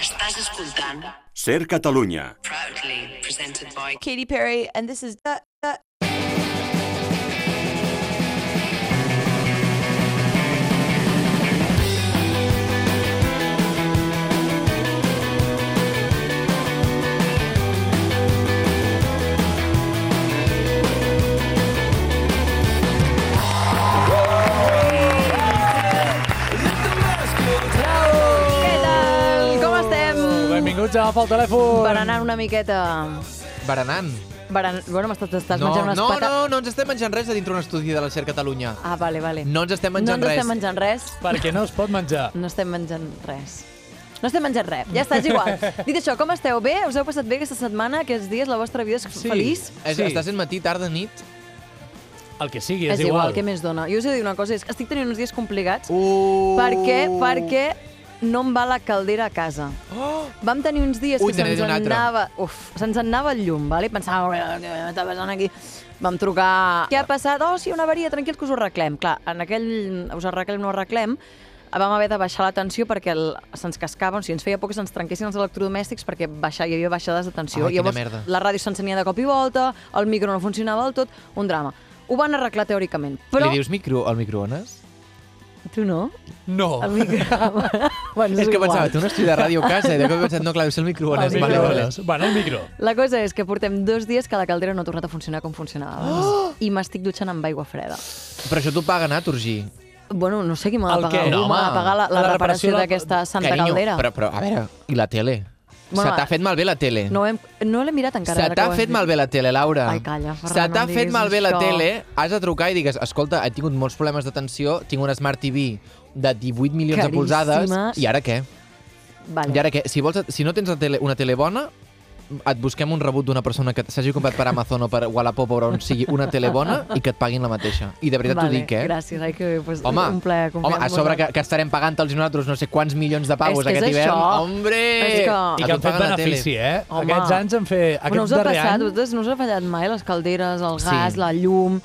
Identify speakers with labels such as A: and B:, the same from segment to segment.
A: Estàs escoltant
B: Ser Catalunya.
A: Proudly presented by
C: Katy Perry, and this is da, da. Què tal? Com estem?
D: Benvinguts a Agafar el telèfon.
C: Berenant una miqueta.
E: Berenant.
C: Beren... Bueno, m'estàs estàs
E: no,
C: menjant unes
E: no,
C: patates.
E: no, no ens estem menjant res de dintre un estudi de la SER Catalunya.
C: Ah, vale, vale.
E: No ens estem menjant
C: no ens
E: res.
C: estem menjant res.
D: Perquè no es pot menjar.
C: No estem menjant res. No estem menjant res, ja està, és igual. Dit això, com esteu? Bé? Us heu passat bé aquesta setmana, aquests dies? La vostra vida és
D: Sí.
C: feliç?
E: És,
D: Sí.
E: Està sent matí, tarda, nit.
D: El que sigui,
C: és
D: és, igual.
C: què més dona? Jo us he de dir una cosa, és que estic tenint uns dies complicats.
E: Uh.
C: Per què? Perquè no em va la caldera a casa.
E: Oh!
C: Vam tenir uns dies
E: Ui,
C: que
E: te n'he
C: se'ns
E: dit un altre.
C: anava... Uf, se'ns anava el llum, vale? pensàvem, "Eh, està passant aquí? Vam trucar... Què ha passat? Oh, sí, una avaria, tranquil, que us ho arreglem. Clar, en aquell us arreglem, no arreglem, vam haver de baixar la tensió perquè el, se'ns cascava, o sigui, ens feia por que se'ns trenquessin els electrodomèstics perquè baixa, hi havia baixades de tensió.
E: Ai, quina
C: Llavors,
E: merda.
C: la ràdio s'encenia de cop i volta, el micro no funcionava del tot, un drama. Ho van arreglar teòricament, però...
E: Li dius micro al microones?
C: Tu no?
D: No.
C: El micro... bueno,
E: És que
C: igual.
E: pensava, té un estudi de ràdio a casa i de cop he pensat, no, clar, deu ser el microones.
D: El
E: Vale,
D: micro.
E: vale.
D: Bueno, el micro.
C: La cosa és que portem dos dies que la caldera no ha tornat a funcionar com funcionava
E: Ah!
C: abans. I m'estic dutxant amb aigua freda.
E: Però això t'ho paguen, eh, Turgí?
C: Bueno, no sé qui m'ha
D: El
C: de pagar.
D: què?
C: Algú
E: No,
C: m'ha de
E: home.
C: pagar la, la,
D: La reparació
C: reparació
D: la-
C: d'aquesta santa
E: Carinyo,
C: caldera.
E: Però, però, a veure, i la tele?
C: Bueno,
E: Se t'ha
C: la-
E: fet malbé la tele.
C: No, ho hem, no l'he mirat encara.
E: Se
C: ara que
E: t'ha
C: ho has
E: fet
C: dit.
E: malbé la tele, Laura.
C: Ai, calla, Ferran,
E: Se
C: no
E: t'ha
C: em
E: fet
C: diguis
E: malbé la
C: això.
E: tele, has de trucar i digues, escolta, he tingut molts problemes de tensió, tinc una Smart TV de 18 milions de
C: Caríssimes.
E: polzades, i ara què?
C: Vale.
E: I ara què? Si, vols, si no tens la tele, una tele bona, et busquem un rebut d'una persona que s'hagi comprat per Amazon o per Wallapop o on sigui una tele bona i que et paguin la mateixa. I de veritat
C: vale,
E: t'ho dic, eh?
C: Gràcies, ai, que bé, pues,
E: Home,
C: un plaer confiar
E: home, a
C: en
E: sobre que,
C: vosaltres.
E: que estarem pagant els nosaltres no sé quants milions de pavos
C: És que és
E: aquest hivern.
C: això.
E: Hombre!
C: És que-
D: I
E: Et
D: que
E: ho
D: han fet
E: paguen a tele.
D: benefici, eh?
C: Home.
D: Aquests anys han fet... Aquest
C: Bueno, us ha
D: darrer
C: passat,
D: any...
C: vosaltres no us ha fallat mai les calderes, el
E: Sí.
C: gas, la llum...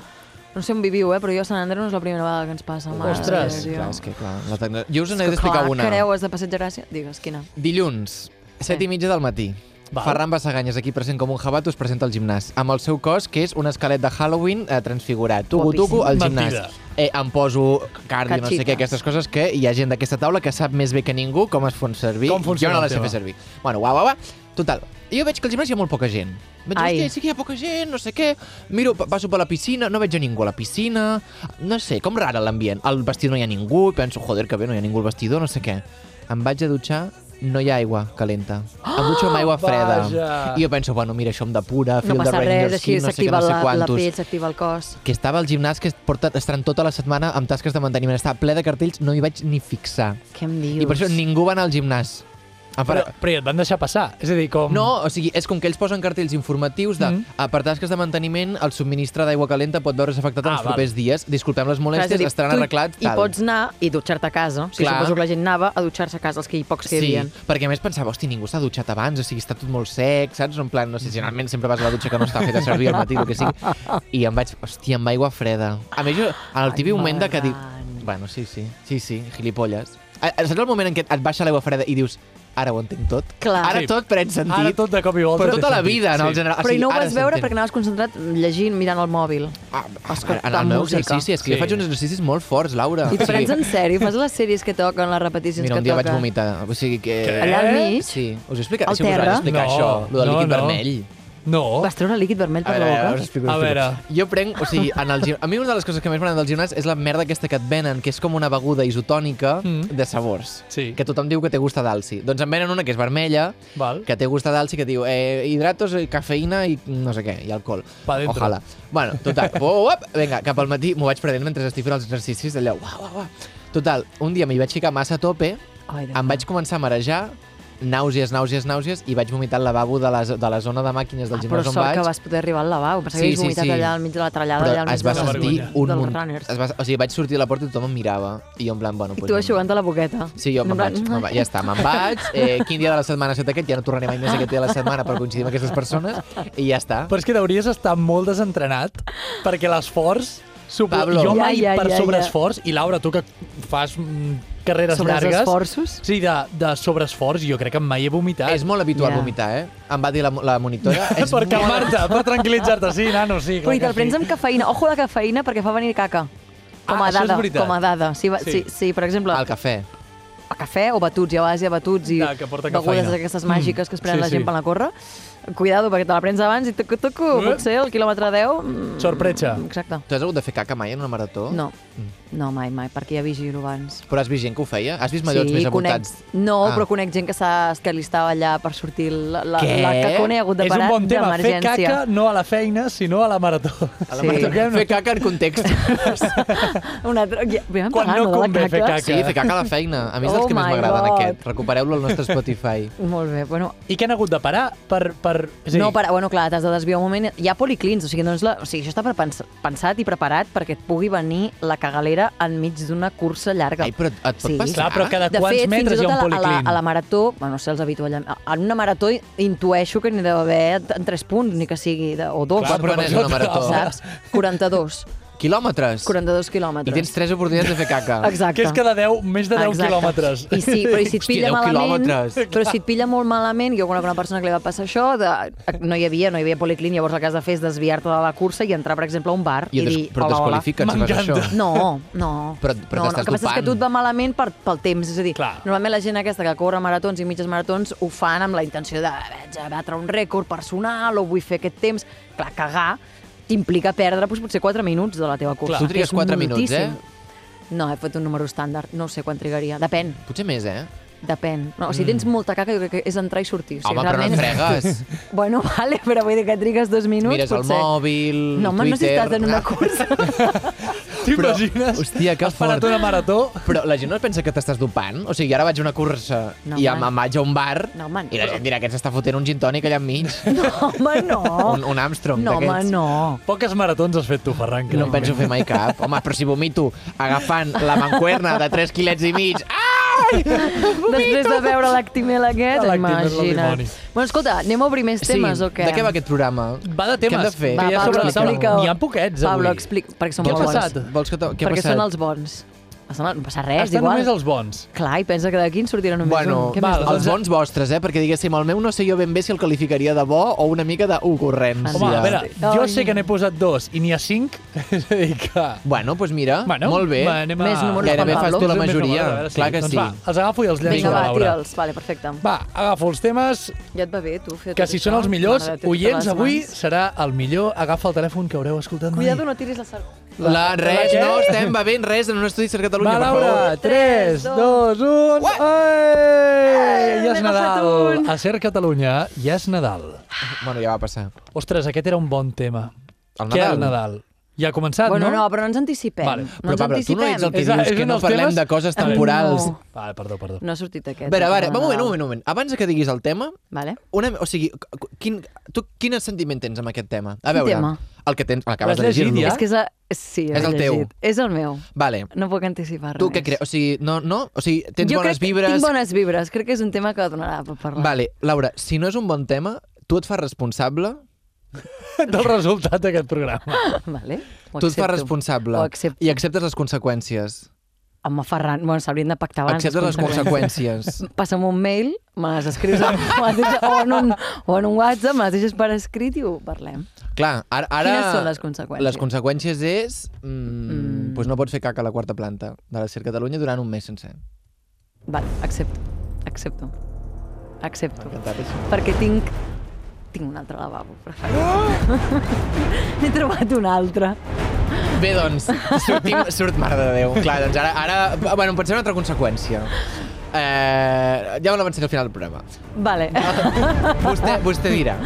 C: No sé on viviu, eh? però jo a Sant Andreu no és la primera vegada que ens passa. mare de
D: Ostres.
C: Déu.
E: Clar, és que clar, la tecno... Jo us
C: És
E: n'he
C: que,
E: d'explicar
C: clar,
E: una.
C: Creu, has de passeig gràcia? Digues, quina?
E: Dilluns, 7 i mitja del matí.
D: Val.
E: Val. Ferran Bassaganyes, aquí present com un jabat, us presenta al gimnàs. Amb el seu cos, que és un esquelet de Halloween eh, transfigurat. Tucu, tucu, al gimnàs.
D: Mentida.
E: Eh, em poso cardio, no sé
C: Cachitas.
E: què, aquestes coses que hi ha gent d'aquesta taula que sap més bé que ningú com es fon servir.
D: Com funciona
E: jo
D: el
E: no la sé
D: tema.
E: fer servir. Bueno, uau, uau, uau. Total, jo veig que al gimnàs hi ha molt poca gent. Veig,
C: Ai.
E: hòstia, sí que hi ha poca gent, no sé què. Miro, pa- passo per la piscina, no veig a ningú a la piscina. No sé, com rara l'ambient. Al vestidor no hi ha ningú, i penso, joder, que bé, no hi ha ningú al vestidor, no sé què. Em vaig a dutxar, no hi ha aigua calenta. Em dutxo amb aigua freda.
D: vaja.
E: I jo penso, bueno, mira, això em depura,
C: Ah, No
E: fil de
C: passa res,
E: Ranger
C: així
E: Skin, no sé què,
C: s'activa
E: no sé
C: la, la
E: quantos
C: pell, s'activa el cos.
E: que estava al gimnàs que porta, estan tota la setmana amb tasques de manteniment. Està ple de cartells, no hi vaig ni fixar.
C: Què em dius?
E: I per això ningú va anar al gimnàs. Em
D: Però,
E: farà-
D: però et van deixar passar. És a dir, com...
E: No, o sigui, és com que ells posen cartells informatius de
D: Mhm.
E: mm. per tasques de manteniment el subministre d'aigua calenta pot veure's afectat en
D: Ah,
E: els
D: val.
E: propers dies. Disculpem
C: Clar,
E: les
C: és a
E: molèsties,
C: dir,
E: estaran
C: tu
E: arreglats,
C: I
E: tal.
C: pots anar i dutxar-te a casa. O sigui,
E: Clar.
C: suposo que la gent anava a dutxar-se a casa, els que hi pocs que hi
E: Sí,
C: havia.
E: perquè a més pensava, hosti, ningú s'ha dutxat abans, o sigui, està tot molt sec, saps? En plan, no sé, generalment sempre vas a la dutxa que no està feta servir al matí, el que sigui. I em vaig, hòstia, amb aigua freda. A més, jo, en el
C: Ai,
E: típic moment de que dic...
C: Ferran.
E: Bueno, sí, sí, sí, sí, gilipolles. A- a- Saps el moment en què et baixa l'aigua freda i dius, ara ho entenc tot?
C: Clar.
E: Ara
D: Sí.
E: tot pren sentit.
D: Ara tot de cop i volta
E: Però
D: té
E: tota la
D: sentit,
E: vida, no?
D: sí.
E: En general.
C: Però i no ho
E: ara
C: vas veure
E: s'entén.
C: perquè anaves concentrat llegint, mirant el mòbil.
E: Ah,
C: escoltant
E: en el meu
C: música.
E: exercici, és
D: Sí.
E: que jo faig uns exercicis molt forts, Laura.
C: I t'ho
E: O sigui,
C: prens en sèrio, fas les sèries que toquen, les repeticions
E: Mira, un
C: que
E: dia
C: toquen.
E: vaig vomitar. O sigui que...
D: Què?
C: Allà al
D: Eh?
C: mig
E: Sí, us he explicat,
C: Al
E: si us vaig
C: terra?
E: explicar
D: No,
E: això, el del
D: no,
E: líquid
D: no.
E: vermell.
D: No.
C: Vas treure líquid vermell per
E: A
C: la
E: veure,
C: boca?
E: us explico, us
D: A
E: explico.
D: veure.
E: Jo prenc, o sigui, en el gim... a mi una de les coses que més m'agrada del gimnàs és la merda aquesta que et venen, que és com una beguda isotònica
D: Mm.
E: mm. de sabors.
D: Sí.
E: Que tothom diu que té gusta d'alci. Doncs em venen una que és vermella,
D: Val.
E: que té gusta d'alci, que diu eh, hidratos, eh, cafeïna i no sé què, i alcohol.
D: Pa dentro.
E: Ojalà. Bueno, total. Oh, op, vinga, cap al matí m'ho vaig prenent mentre estic fent els exercicis, allò, uau, uau, uau. Total, un dia m'hi vaig ficar massa a tope,
C: Ai, Déu
E: em vaig començar a marejar, nàusees, nàusees, nàusees, i vaig vomitar al lavabo de la, de la zona de màquines del
C: Ah, però
E: gimnàs on
C: sort
E: vaig.
C: que vas poder arribar al lavabo. Pensava
E: Sí,
C: que havies
E: sí,
C: vomitat
E: sí.
C: allà al mig de la trallada, allà
E: Però
C: al mig
E: es va
C: de la-
E: sentir
D: vergonya.
E: un
C: dels
E: munt.
C: runners.
E: Es va, o sigui, vaig sortir a la porta i tothom em mirava. I jo en plan, bueno...
C: I
E: pues
C: tu
E: no.
C: aixugant-te la boqueta.
E: Sí, jo
C: En
E: me'n
C: plan, "Mm,
E: vaig, me'n vaig, ja està, me'n vaig. Eh, quin dia de la setmana ha estat aquest? Ja no tornaré mai més a aquest dia de la setmana per coincidir amb aquestes persones. I ja està.
D: Però és que hauries estar molt desentrenat perquè l'esforç Supo,
E: Pablo.
D: Jo
C: Ja,
D: mai
C: ja,
D: per
C: ja,
D: sobreesforç, i Laura, tu que fas mm, carreres llargues...
C: Sobreesforços?
D: Sí, de, de sobreesforç, jo crec que mai he vomitat.
E: És molt habitual
C: Ja.
E: vomitar, eh? Em va dir la, la monitora. és
D: per
E: molt-
D: calmar-te, per tranquil·litzar-te. Sí, nano, sí.
C: Però
D: clar
C: i te'l
D: que
C: prens
D: sí.
C: amb cafeïna. Ojo a la cafeïna perquè fa venir caca. Com
D: Ah,
C: a
D: això és
C: dada,
D: veritat.
C: com a dada. Si, va,
D: Sí.
C: sí. Si, si, per exemple,
E: Al cafè.
C: a cafè o batuts, ja vas a batuts i
D: Ja, que porta
C: begudes
D: cafeïna.
C: aquestes màgiques que es prenen
D: Sí,
C: la gent
D: sí.
C: per la corra, cuidado perquè te la prens abans i tucu, tucu,
D: Eh?
C: potser el quilòmetre 10... mm,
D: Sorpretxa.
C: Exacte.
E: Tu has hagut de fer caca mai en una marató?
C: No, no, mai, mai, perquè ja vigilo abans.
E: Però has vist gent que ho feia? Has vist mallots més
C: conec,
E: apuntats?
C: no,
E: Ah.
C: però conec gent que s'ha escalistava allà per sortir la, la,
E: Què?
C: la cacona i ha hagut de
D: És un
C: parar
D: bon tema, fer
C: d'emergència.
D: caca no a la feina, sinó a la marató.
E: A la
C: Sí.
E: marató.
D: Toquem-
E: Fer caca en context.
C: Una altra... Ja, vam
D: Quan
C: parlar, de
D: no
C: la
D: convé fer
E: sí, fer caca a la feina. A mi és dels
C: Oh
E: que més
C: my
E: m'agraden,
C: God.
E: aquest. Recupereu-lo al nostre Spotify.
C: Molt bé, bueno,
D: I què han hagut de parar per... per... És a dir,
C: No, para, bueno, clar, t'has de desviar un moment. Hi ha policlins, o sigui, no és la, o sigui això està per pens pensat i preparat perquè et pugui venir la cagalera enmig d'una cursa llarga.
E: Ai, però et et pot
C: Sí.
E: passar?
D: Clar, però cada
C: de
D: quants
C: fet, fins i
D: metres hi
C: tot
D: ha un
C: a la, a, la,
D: policlín?
C: a la marató, bueno, no sé els habitualls, en una marató intueixo que n'hi deu haver en 3 punts, ni que sigui, de, o dos,
E: Clar, però quan és una marató.
C: saps? 42,
E: Quilòmetres.
C: 42
E: I
C: quilòmetres.
E: tens tres oportunitats de fer caca.
C: Exacte.
D: Que és cada 10, més de 10
C: Exacte.
D: quilòmetres.
C: I sí, però i si et
E: Hosti,
C: pilla
E: 10
C: malament...
E: quilòmetres.
C: Però si et pilla molt malament, jo conec una persona que li va passar això, de, no hi havia, no hi havia policlín, llavors el que has de fer és desviar-te de la cursa i entrar, per exemple, a un bar i,
E: I et des...
C: dir... hola,
E: Però et
C: hola.
E: desqualifiquen si fas això.
D: M'encanta.
C: No, no.
E: Però-
C: no,
E: però
C: no.
E: t'estàs
C: El que passa és que
E: dopant.
C: a tu et va malament per, pel temps. És a dir,
D: Clar.
C: normalment la gent aquesta que corre maratons i mitges maratons ho fan amb la intenció de vaig a batre un rècord personal o vull fer aquest temps. Clar, cagar t'implica perdre doncs, potser 4 minuts de la teva cursa.
E: Tu
C: que
E: trigues
C: és
E: 4 minuts, eh?
C: moltíssim. No, he fet un número estàndard. No sé quan trigaria. Depèn,
E: Potser més, eh?
C: depèn. No, o sigui, tens molta caca, jo crec que és entrar i sortir. O sigui,
E: Mm. Home, però no et
C: realment-
E: fregues.
C: Bueno, vale, però vull dir que trigues dos minuts,
E: Mires el
C: potser.
E: mòbil,
C: No, home, no si
E: Twitter... ah.
C: estàs en una cursa.
D: T'imagines?
E: hòstia, que
D: Has parat
E: fort.
D: una marató...
E: Però la gent no es pensa que t'estàs dopant? O sigui, ara vaig a una cursa
C: No,
E: i em,
C: home.
E: em vaig a un bar
C: No, home, no.
E: i la gent dirà que s'està fotent un gin tònic allà enmig.
C: No, home, no.
E: Un, un Armstrong
C: no, home,
E: d'aquests.
C: no.
D: Poques maratons has fet tu, Ferran.
E: No em penso fer mai cap. Home, però si vomito agafant la mancuerna de 3 quilets i mig... Ai!
C: Després de veure l'actimel aquest,
D: L'actimel del
C: imagina't.
D: dimoni.
C: Bueno, escolta, anem a obrir més temes o què?
E: de què va aquest programa?
D: Va de temes.
E: Què hem de fer?
D: Va,
E: Què hi ha
D: Pablo,
E: sobre la taula?
D: explica-ho. N'hi ha poquets, avui.
C: Pablo, explica, perquè són
D: Què ha
C: molt
D: passat?
C: bons.
E: Vols que te... Què ha
C: perquè
E: passat?
C: són els bons. Estan, no passa res,
D: Estan
C: igual.
D: només els bons.
C: Clar, i pensa que d'aquí en sortirà només
E: Bueno,
C: un. Què més
D: val,
E: els
C: vols?
E: bons vostres, eh? Perquè diguéssim, el meu no sé jo ben bé si el qualificaria de bo o una mica d'ocurrència.
D: Home, a veure, jo
C: Ai.
D: sé que n'he posat dos i n'hi ha cinc, és a dir que...
E: Bueno, doncs mira,
D: Bueno,
E: molt bé.
D: Va, anem a...
C: Més números
E: Gairebé
C: per
E: fas tu la
D: Més números,
E: majoria.
D: a veure,
E: Clar que
D: doncs
E: sí.
D: Va, els agafo i els llenço
C: Vinga,
D: a
C: va,
D: la Laura.
C: tira'ls. Vale, perfecte.
D: Va, agafo els temes,
C: Ja et va bé, tu, fer
D: que
C: tot
D: si
C: això.
D: són els millors,
C: Mare de Déu,
D: oients
C: totes les
D: avui
C: mans.
D: serà el millor. Agafa el telèfon que haureu escoltat mai.
C: Cuidado, no tiris la sargó.
E: La res,
D: què?
E: no estem bevent res en un estudi de Catalunya,
D: Va,
E: per
D: Laura,
E: favor.
C: Tres,
D: 3, 2, 1...
E: Ué!
D: Ei! Ja és
C: N'he agafat
D: Nadal.
C: un.
D: A Ser Catalunya, ja és Nadal.
E: Bueno, ja va passar.
D: Ostres, aquest era un bon tema.
E: El
D: Què era
E: Nadal?
D: el Nadal? Ja ha començat,
C: Bueno, no,
D: no?
C: però no ens anticipem.
D: Vale.
C: No
E: Però,
C: ens
E: Pablo, tu no
C: anticipem.
E: ets el que
D: És a-
E: dius
D: és
E: que
D: un
E: no
D: dels
E: parlem
D: temes-
E: de coses
D: A veure,
E: temporals.
C: no.
D: Vale, perdó, perdó.
C: No ha sortit aquest.
E: A veure, a veure,
C: de
E: un moment,
C: Nadal.
E: un moment, un moment. Abans que diguis el tema,
C: Vale.
E: una, o sigui, qu- quin, tu quin sentiment tens amb aquest tema? A veure,
C: tema?
E: el que tens, l'acabes
D: L'has
E: de
D: llegit,
E: llegir-lo.
D: Ja?
C: És que és, la... sí,
E: És el teu.
C: És el meu.
E: Vale.
C: No puc anticipar
E: Tu
C: res.
E: què creus? O sigui, no, no? O sigui, tens
C: jo
E: bones
C: crec, que
E: vibres?
C: Tinc bones vibres. Crec que és un tema que donarà per parlar.
E: Vale, Laura, si no és un bon tema, tu et fas responsable?
D: Del resultat d'aquest programa.
C: vale. Ho
E: tu et fas
C: accepto.
E: responsable.
C: Ho accepto.
E: I acceptes les conseqüències.
C: Home, Ferran, bueno, s'haurien de pactar abans.
E: acceptes les conseqüències.
C: Passa'm un mail, me les escrius a, me les deixes, o, en un, o en un WhatsApp, me les deixes per escrit i ho parlem.
E: Clar, ara... ara
C: Quines són les conseqüències?
E: Les conseqüències és... Mm, mm. Doncs no pots fer caca a la quarta planta de la Ser Catalunya durant un mes sencer.
C: Vale, accepto. Accepto. Accepto.
E: Encantat, això.
C: Perquè tinc... Tinc un altre lavabo, preferit. N'he trobat un altre.
E: Bé, doncs, sortim, surt, mare de Déu. Clar, doncs ara, ara bueno, em pensaré una altra conseqüència. Eh, ja me l'avançaré al final del programa.
C: Vale.
E: Ah. Vostè, vostè dirà.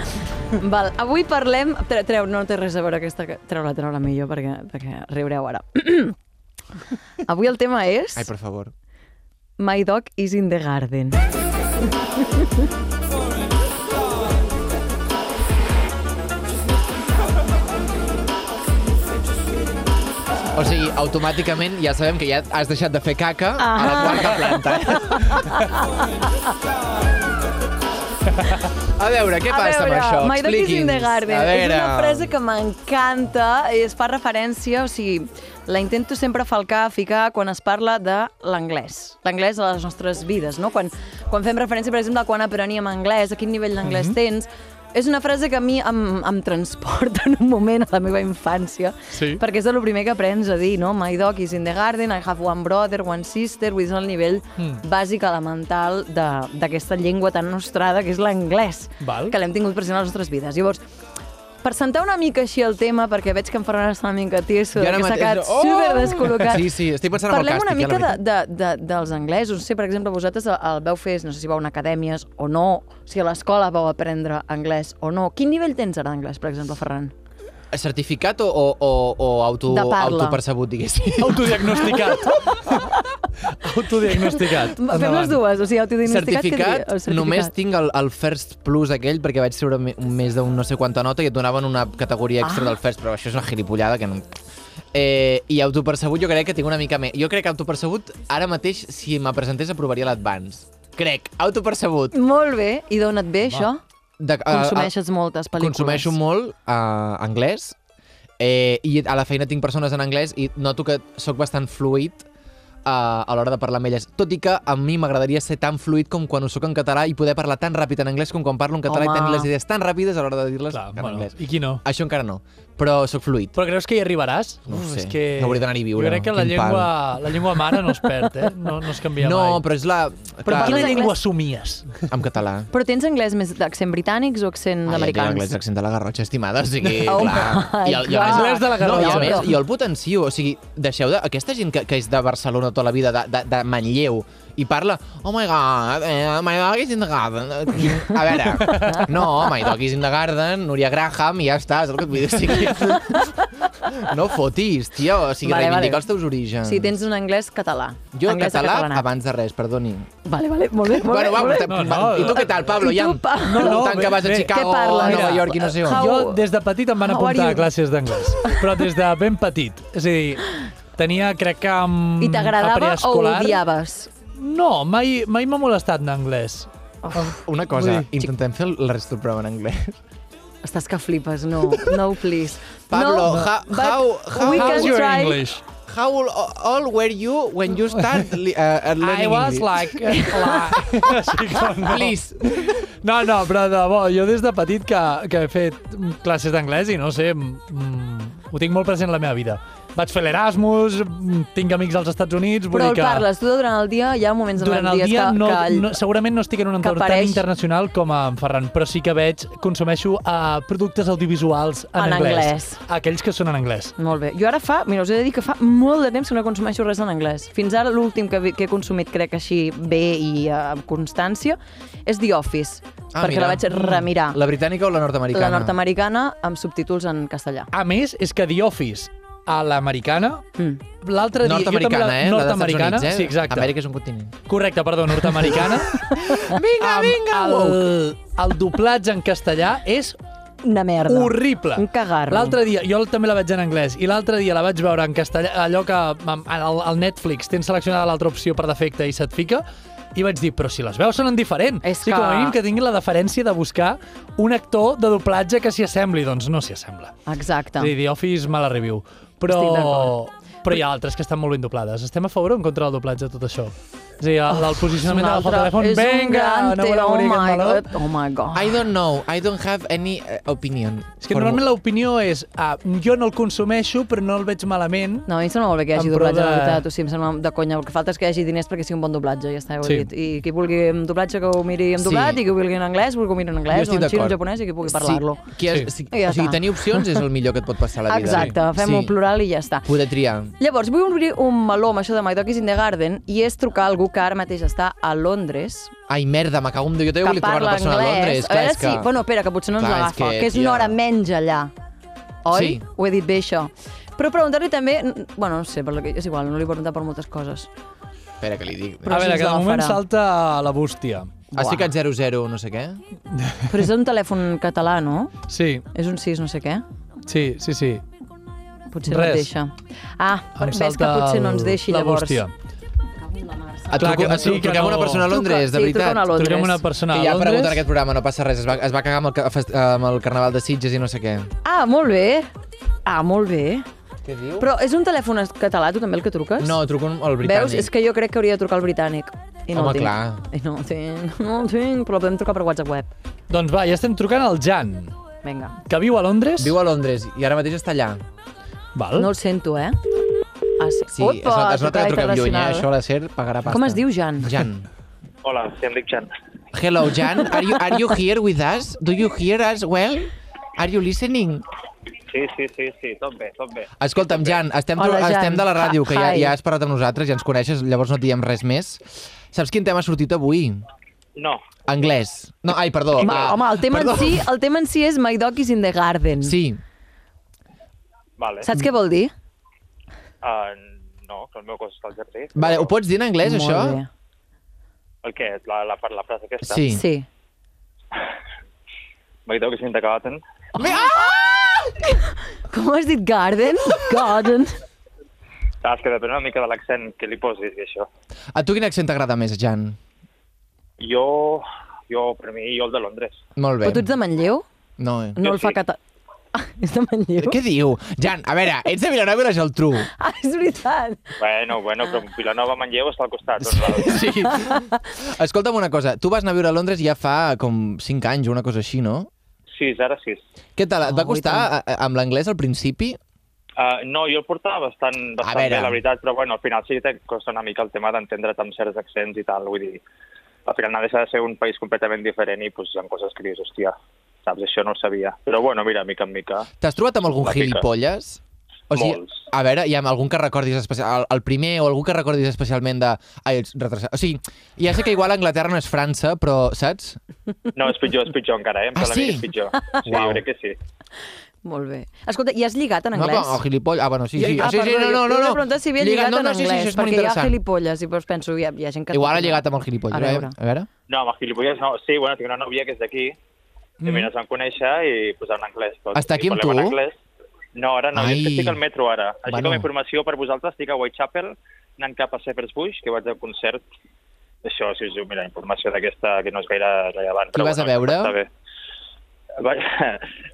C: Val, avui parlem... Tre, treu, no té res a veure aquesta... que- Treu-la, treu-la millor perquè, perquè riureu ara. avui el tema és...
E: Ai, per favor.
C: My dog is in the garden.
E: O sigui, automàticament ja sabem que ja has deixat de fer caca a la quarta planta. A veure, què passa amb això?
C: My dog is in the
E: Expliqui'ns.
C: garden.
E: A
C: És
E: veure...
C: una frase que m'encanta, es fa referència, o sigui, la intento sempre falcar, ficar quan es parla de l'anglès. L'anglès a les nostres vides, no? Quan, quan fem referència, per exemple, a quan apreníem anglès, a quin nivell d'anglès
D: Mhm.
C: tens... És una frase que a mi em, em transporta en un moment a la meva infància,
D: Sí.
C: perquè és el primer que aprens a dir, no? My dog is in the garden, I have one brother, one sister, vull dir, és el nivell mm. bàsic elemental de- d'aquesta llengua tan nostrada que és l'anglès
D: Val.
C: que l'hem tingut present a les nostres vides. Llavors, per sentar una mica així el tema, perquè veig que en Ferran està una mica tieso,
E: Jo ara
C: que s'ha
E: mateix-
C: quedat
E: Oh!
C: super descol·locat.
E: Sí, sí, estic pensant en el
C: Parlem
E: càstig, eh,
C: una mica
E: la
C: de, de, de, dels anglesos. No sé, per exemple, vosaltres el- el veu fer, no sé si vau a acadèmies o no, si a l'escola vau aprendre anglès o no. Quin nivell tens ara d'anglès, per exemple, Ferran?
E: Certificat o, o, o, o auto,
C: De parla.
E: autopercebut, diguéssim?
D: Autodiagnosticat. Autodiagnosticat.
C: Fem les dues, o sigui, autodiagnosticat... que
E: Certificat,
C: diria- o certificat.
E: només tinc el, el First Plus aquell perquè vaig treure me- un més d'un no sé quanta nota i et donaven una categoria extra
C: Ah.
E: del First, però això és una gilipollada que no... Eh, I autopercebut jo crec que tinc una mica més. Jo crec que autopercebut ara mateix, si me presentés, aprovaria l'advance. Crec, autopercebut.
C: Molt bé, i d'on et ve això?
E: De, eh,
C: Consumeixes moltes pel·lícules.
E: Consumeixo molt eh, anglès eh, i a la feina tinc persones en anglès i noto que sóc bastant fluid eh, a l'hora de parlar amb elles. Tot i que a mi m'agradaria ser tan fluid com quan ho sóc en català i poder parlar tan ràpid en anglès com quan parlo en català
C: Home.
E: i tenir les idees tan ràpides a l'hora de dir-les
D: Clar,
E: en
D: bueno,
E: anglès.
D: I qui no?
E: Això encara no, però sóc fluid.
D: Però creus que hi arribaràs?
E: No ho
D: Uf,
E: sé.
D: és que...
E: No hauria d'anar-hi a viure,
D: Jo crec que la
E: quin pal.
D: llengua, la llengua mare no es perd, eh? No, no es canvia
E: no,
D: mai.
E: però és la...
C: Però
E: clar,
D: Quina
C: parles
D: llengua
C: anglès?
D: somies?
E: En català.
C: Però tens anglès més d'accent britànics o accent
E: Ai,
C: americans?
E: Ah, anglès, accent de la Garrotxa, estimada, o sigui,
C: Oh
E: clar.
C: my
E: el,
C: God.
E: a més-
D: Anglès de la
E: No, i a
D: Garrotxa.
E: més, jo el potencio, o sigui, deixeu de... Aquesta gent que, que és de Barcelona tota la vida, de, de, de Manlleu, i parla, oh my god, eh, my dog is in the garden. Quin- A veure, no, my dog is in the garden, Núria Graham, i ja està, és el que et vull dir. O sigui, no fotis, tio, o
C: Vale,
E: sigui, vale,
C: vale.
E: reivindica els teus orígens.
C: Sí, tens un anglès català.
E: Jo,
C: anglès de
E: català,
C: catalana.
E: abans de res, perdoni.
C: Vale, vale, molt bé, molt
E: bueno,
C: bé.
E: va,
C: molt bé.
E: te-
D: No,
E: va,
D: no,
E: i tu què tal, Pablo?
C: I
E: Ja,
C: tu, Pa-
D: No, no,
E: tant que vas a
D: bé, bé.
E: Chicago,
C: Què parles?
E: a Nova
D: Mira,
E: York i no sé on.
C: How-
D: Jo des de petit em van
C: How
D: apuntar
C: are
D: a
C: you?
D: classes d'anglès, però des de ben petit. És a dir, tenia, crec que... Amb,
C: I
D: a
C: t'agradava o
D: preescolar-
C: odiaves?
D: No, mai mai m'ha molestat d'anglès.
E: Una cosa,
D: Vull
E: intentem fer el resto del programa en anglès.
C: Estàs que flipes, no, no, please.
E: Pablo,
C: no,
E: how-
C: but
E: how- how-
C: we
E: how's
C: can
E: your
C: try...
E: How all, all were you when you start li, uh, uh, learning
D: I was
E: English?
D: like... Així com no.
E: Please.
D: No, no, però de bo, jo des de petit que, que he fet classes d'anglès i no sé, mm, ho tinc molt present a la meva vida. Vaig fer l'Erasmus, mm, tinc amics als Estats Units, vull
C: Però
D: dir
C: el
D: que...
C: parles, tu durant el dia hi ha moments en
D: Durant el
C: dies
D: dia
C: que,
D: no,
C: que...
D: no, segurament no estic en un entorn tan
C: apareix.
D: internacional com a en Ferran, però sí que veig, consumeixo uh, productes audiovisuals en,
C: En
D: anglès.
C: anglès.
D: Aquells que són en anglès.
C: Molt bé. Jo ara fa, mira, us he de dir que fa molt de temps que no consumeixo res en anglès. Fins ara l'últim que, vi- que he consumit, crec, així bé i eh, amb constància, és The Office,
E: Ah,
C: perquè
E: mira.
C: la vaig remirar.
E: La britànica o la nord-americana?
C: La nord-americana amb subtítols en castellà.
D: A més, és que The Office a l'americana,
C: Mm.
D: l'altre dia... jo també
E: Nord-americana,
D: la-
E: eh? La dels Estats
D: Nord-americana,
E: Units, eh?
D: sí, exacte.
E: Amèrica és un continent.
D: Correcte, perdó, nord-americana. vinga,
E: vinga,
D: El, el doblatge en castellà és
C: Una merda.
D: horrible.
C: Un cagarro.
D: L'altre dia, jo també la vaig en anglès, i l'altre dia la vaig veure en castellà, allò que am- al, al Netflix tens seleccionada l'altra opció per defecte i se't fica, i vaig dir, però si les veus són en diferent.
C: És
D: sí, com a
C: que-
D: mínim que tingui la deferència de buscar un actor de doblatge que s'hi assembli. Doncs no s'hi assembla.
C: Exacte.
D: Sí, The Office me la review. Però,
C: Estic d'acord.
D: però hi ha altres que estan molt ben doblades. Estem a favor o en contra del doblatge de tot això? És a dir, el, el posicionament
C: Un
D: del
C: altre-
D: telèfon,
C: és un
D: vinga,
C: gran
D: no voleu
C: tema,
D: morir
C: oh
D: aquest
C: my
D: meló.
C: God, Oh my god.
E: I don't know. I don't have any uh, opinion.
D: És que normalment l'opinió és, ah, jo no el consumeixo, però no el veig malament.
C: No, a mi em sembla molt bé que hi hagi
D: Em prova
C: doblatge, de...
D: de-
C: la veritat. O sigui, em sembla de conya. El que falta és que hi hagi diners perquè sigui un bon doblatge, ja està, ja ho he
D: Sí.
C: dit. I qui vulgui en doblatge que ho miri en
E: Sí.
C: doblat, i qui ho vulgui en anglès, vulgui que ho miri en anglès, o
E: Jo estic
C: en xino, en
E: d'acord.
C: japonès, i qui pugui parlar-lo.
E: Sí, qui és, sí.
C: I ja
E: o sigui,
C: està.
E: tenir opcions és el millor que et pot passar a la vida.
C: Exacte, fem-ho plural i ja està.
E: Poder triar.
C: Llavors, vull obrir un meló amb això de My Dog is in the Garden i és trucar a algú que ara mateix està a Londres,
E: Ai, merda, me cago en Déu. Jo
C: que
E: també volia trobar una
C: parla
E: persona
C: anglès.
E: a Londres.
C: a
E: Clar,
C: veure
E: és
C: si...
E: que...
C: Bueno, espera, que potser no ens
E: Clar, és
C: l'agafa,
E: que,
C: que, és una
E: tia.
C: hora menys allà. Oi?
E: Sí.
C: Ho he dit bé, això. Però preguntar-li també... Bueno, no sé, per la que... és igual, no li he preguntat per moltes coses.
E: Espera que li dic.
C: Però
D: a veure,
C: si ens
D: que de moment
C: agafarà.
D: salta la bústia.
E: Has ficat 00 no sé què?
C: Però és un telèfon català, no?
D: Sí,
C: És un 6 no sé què.
D: sí, sí, sí.
C: Potser no
D: Res.
C: et deixa. Ah,
D: Em
C: ves que
D: salta
C: potser
D: el-
C: no ens deixi,
D: la
C: llavors.
D: bústia.
C: Cago en la mar,
E: Et
D: Clar
E: truco,
D: que-
E: et truco,
D: sí que
E: truquem a una
D: no.
E: persona a
C: Truca-
E: Londres, de
C: sí, truca
E: veritat.
C: una a Londres.
D: Truquem una persona
E: que
D: a
E: ja ha aparegut en
D: Londres.
E: aquest programa, no passa res. Es va, es va cagar amb el, ca- fest- amb el carnaval de Sitges i no sé què.
C: Ah, molt bé. Ah, molt bé.
E: Què diu?
C: Però és un telèfon es- català, tu també, el que truques?
E: No, truco al britànic.
C: Veus? És que jo crec que hauria de trucar al britànic. I no
E: Home,
C: el tinc.
E: clar.
C: I no el tinc, no el tinc, però el podem trucar per WhatsApp web.
D: Doncs va, ja estem trucant al Jan,
C: Vinga.
D: que viu a Londres.
E: Viu a Londres i ara mateix està allà.
D: Val.
C: No el sento, eh? Ah, sí.
E: Sí, es nota, es nota que truquem lluny, eh?
C: internacional.
E: Això a la SER pagarà pasta.
C: Com es diu, Jan?
E: Jan.
B: Hola, sí, em dic Jan.
E: Hello, Jan. Are you, are you here with us? Do you hear us well? Are you listening?
B: Sí, sí, sí, sí, tot bé, tot bé.
E: Escolta'm, Jan, estem,
C: Hola, Jan.
E: estem de la ràdio, que ja,
C: Hi.
E: ja has parlat amb nosaltres, ja ens coneixes, llavors no et diem res més. Saps quin tema ha sortit avui?
B: No,
E: Anglès. No, ai, perdó.
C: Home,
E: ah,
C: home, el tema, en si, el tema en si és My Dog is in the Garden.
E: Sí,
B: vale.
C: Saps què vol dir?
B: Uh, no, que el meu cos està al jardí.
E: vale, ho pots dir en anglès,
C: Molt
E: això?
C: Bé.
B: El què? La, la, la, la frase aquesta?
E: Sí.
C: Sí.
B: My dog is in the garden.
C: Com has dit? Garden? Garden.
B: Saps que depèn una mica de l'accent que li posis i això.
E: A tu quin accent t'agrada més, Jan?
B: Jo, jo, per mi, jo el de Londres.
E: Molt bé.
C: Però tu ets de Manlleu?
E: No, eh?
C: No
B: Jo
C: el fa
B: sí.
C: català. Ah, és de Manlleu?
E: Què diu? Jan, a veure, ets de Vilanova i la Geltrú.
C: Ah, és veritat.
B: Bueno, bueno, però Vilanova Manlleu està al costat. Doncs,
E: Ah. Sí. Escolta'm una cosa, tu vas anar a viure a Londres ja fa com 5 anys o una cosa així, no?
B: sis, ara sis.
E: Què tal? Et va
C: Oh,
E: costar
C: i
E: a, a, amb l'anglès al principi?
B: Uh, no, jo el portava bastant,
E: A
B: bastant
E: veure.
B: bé, la veritat, però bueno, al final sí que costa una mica el tema d'entendre't amb certs accents i tal, vull dir, al final no deixa de ser un país completament diferent i pues, hi ha coses que dius, hòstia, saps, això no ho sabia. Però bueno, mira, mica en mica.
E: T'has trobat amb algun
B: Una mica.
E: gilipolles? O sigui,
B: Molts.
E: a veure, hi ha algun que recordis especial, el, el primer o algú que recordis especialment de... Ai, ets retrasat. O sigui, ja sé que igual Anglaterra no és França, però saps?
B: No, és pitjor, és pitjor encara, eh? Em
E: Ah,
B: sembla que
E: sí?
B: És pitjor. Sí,
E: Uau.
B: jo crec que sí.
C: Molt bé. Escolta, i has lligat en
E: No,
C: anglès?
E: però el gilipoll... Ah, bueno, sí, sí.
C: Ah,
E: sí, sí, no, no, no,
C: Una
E: no.
C: pregunta si havia lligat,
E: no,
C: en
E: no,
C: anglès,
E: sí, sí, això és molt
C: perquè hi ha
E: interessant.
C: gilipolles, i doncs penso, hi ha, hi ha gent que...
E: Igual ha lligat amb el gilipoll. eh?
C: A veure.
E: A veure.
B: No, amb els gilipolles no. Sí, bueno, tinc una nòvia que és d'aquí, mm. i mira, ens vam conèixer i posar en anglès. Tot.
E: Està aquí
B: I
E: amb
B: parlem en
E: tu?
B: Anglès. No, ara no, Ai. jo
E: Ai.
B: és que estic al metro ara. Així
E: Bueno.
B: bueno. com a informació per vosaltres, estic a Whitechapel, anant cap a Shepherd's Bush, que vaig al concert. Això, si us diu, mira, informació d'aquesta que no és gaire rellevant.
E: Qui
B: però
E: vas a
B: bueno,
E: veure?
B: està bé. Vaig,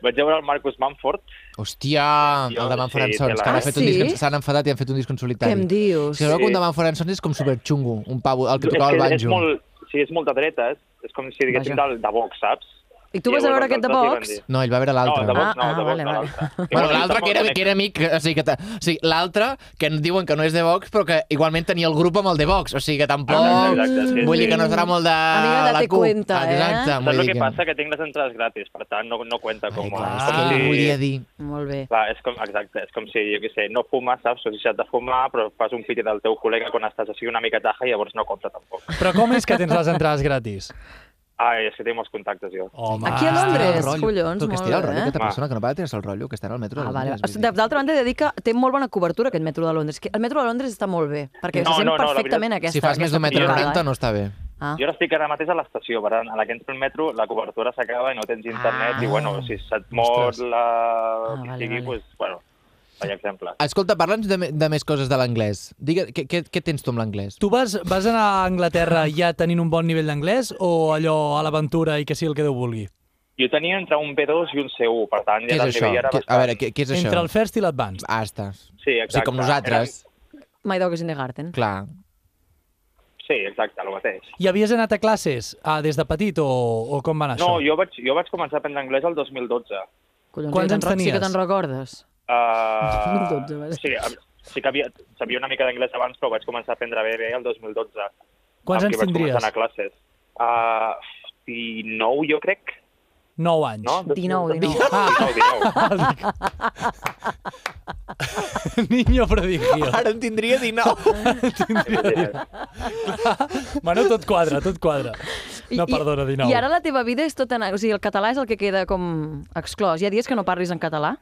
B: vaig a veure el Marcus Manford.
E: Hòstia,
B: Jo-
E: el de Manfred
B: sí,
E: Ansons,
B: tela.
E: que han
C: Ah,
E: fet un
C: sí?
E: disc, s'han enfadat i han fet un disc en solitari.
C: Què em dius?
E: Si sí.
B: Sí.
E: un de Manfred Ansons és com superxungo, un pavo, el que
B: És
E: tocava el
B: que És
E: banjo.
B: molt, sí, és molt de dretes. És com si diguéssim
C: Vaja.
B: de, de Vox, saps?
C: I tu vas a veure aquest de
B: vox?
C: Vox?
E: No, ell va veure
B: No,
E: l'altre.
B: de Vox
C: Ah,
B: no,
C: ah,
B: de Vox
C: vale,
B: no.
C: vale.
B: l'altre.
E: Bueno,
B: Igual
E: l'altre
B: està
E: que era,
B: molt
E: que era amic, o sigui, que ta- o sigui, l'altre, que en diuen que no és de Vox, però que igualment tenia el grup amb el de Vox, o sigui que tampoc...
B: Exacte, exacte, sí,
E: vull
B: sí.
E: dir que no serà molt de
C: Amiga, date
E: la CUP.
C: cuenta, eh?
E: Exacte,
B: Saps
E: vull
B: el
E: dir
B: que passa? Que tinc les entrades gratis, per tant, no, no cuenta com...
E: Ai, clar, és
B: a- com
E: que
B: si-
E: ho volia dir.
C: Molt bé.
B: Clar, és com, exacte, és com si, jo què sé, no fumes, saps? O sigui, si has de fumar, però fas un piti del teu col·lega quan estàs així una mica taja i llavors no compta tampoc.
D: Però com és que tens les entrades gratis?
B: Ai, és que tinc molts contactes, jo.
D: Home,
C: Aquí a
E: Ah, Estira el
C: Londres,
E: rotllo.
C: collons,
E: Tu que
C: molt
E: estira el rotllo,
C: bé. eh?
E: aquesta
B: Va.
E: persona que no para de tirar el rotllo, que està en el metro de
C: Ah, vale.
E: Londres. vull dir.
C: D'altra banda, he de dir que té molt bona cobertura aquest metro de Londres. Que El metro de Londres està molt bé, perquè
B: No,
C: se sent
B: no, no, la
C: perfectament
B: veritat-
C: aquesta
E: Si fas més d'un metre
B: aquesta
E: noranta
C: noranta,
E: no està bé.
C: Ah.
B: Jo ara estic ara mateix a l'estació, per tant, en aquest metro la cobertura s'acaba i no tens
E: Ah.
B: internet i, bueno, si se't mor
E: Ostres.
B: la...
C: Ah,
B: que
C: vale,
B: sigui,
C: vale.
B: pues, bueno, per exemple.
E: Escolta, parla'ns de, me- de més coses de l'anglès. Digue, què, què, què tens tu amb l'anglès?
D: Tu vas, vas anar a Anglaterra ja tenint un bon nivell d'anglès o allò a l'aventura i que sigui el que Déu vulgui?
B: Jo tenia entre un B2 i un C1, per tant,
E: Què
B: ja
E: és
B: el
E: això?
B: nivell era
E: Què, a
B: bastant.
E: veure, què, què és
D: Entre
E: això?
D: el first i l'advanced.
E: Ah, estàs.
B: Sí,
E: O sigui,
B: exacte.
E: com nosaltres.
C: My dog is in the garden.
E: Clar.
B: Era... Sí, exacte, el mateix.
D: I havies anat a classes ah, des de petit o, o com va anar
B: No,
D: això?
B: jo vaig, jo vaig començar a aprendre anglès el 2012.
C: Collons,
D: Quants
C: sí que
D: anys
C: te'n- Sí
D: tenies?
C: que te'n recordes.
B: Uh,
C: 2012, va ser.
B: sí, a- sí que havia, sabia una mica d'anglès abans, però ho vaig començar a aprendre bé, bé el 2012.
D: Quants
B: amb
D: anys
B: qui vaig començar a
D: tindries?
B: anar a classes. Uh, 19, jo crec,
D: 9 anys.
B: no?
C: 19, 19.
D: Ah,
B: 19, 19.
D: niño prodigio.
E: Ara en tindria 19.
D: Bueno, tot quadra, tot quadra. No,
C: I-
D: perdona, 19.
C: I ara la teva vida és tot en... O sigui, el català és el que queda com exclòs. Hi ha dies que no parlis en català?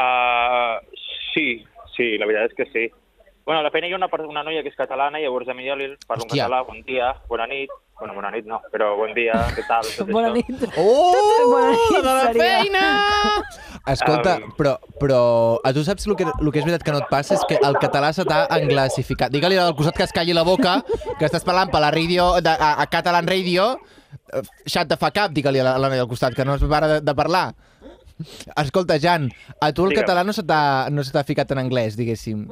B: Uh, sí, sí, la veritat és que sí. Bueno, a la feina hi ha una, per- una noia que és catalana i llavors a mi jo li parlo en
E: Hòstia.
B: català, bon dia, bona nit, Bueno, bona nit no, però bon dia, què tal? Tot això.
C: Bona nit.
E: Oh,
C: Bona nit,
E: la de la
C: seria.
E: feina! Escolta,
B: Um.
E: però, però a tu saps el que, el que és veritat que no et passa? És que el català se t'ha anglasificat. Digue-li al costat que es calli la boca, que estàs parlant per la radio, de, a, a Catalan Radio, eh, shut the fuck up, digue-li a la, a la noia al costat, que no es para de, de parlar. Escolta, Jan, a tu el
B: Digue'm.
E: català no se t'ha no se t'ha ficat en anglès, diguéssim.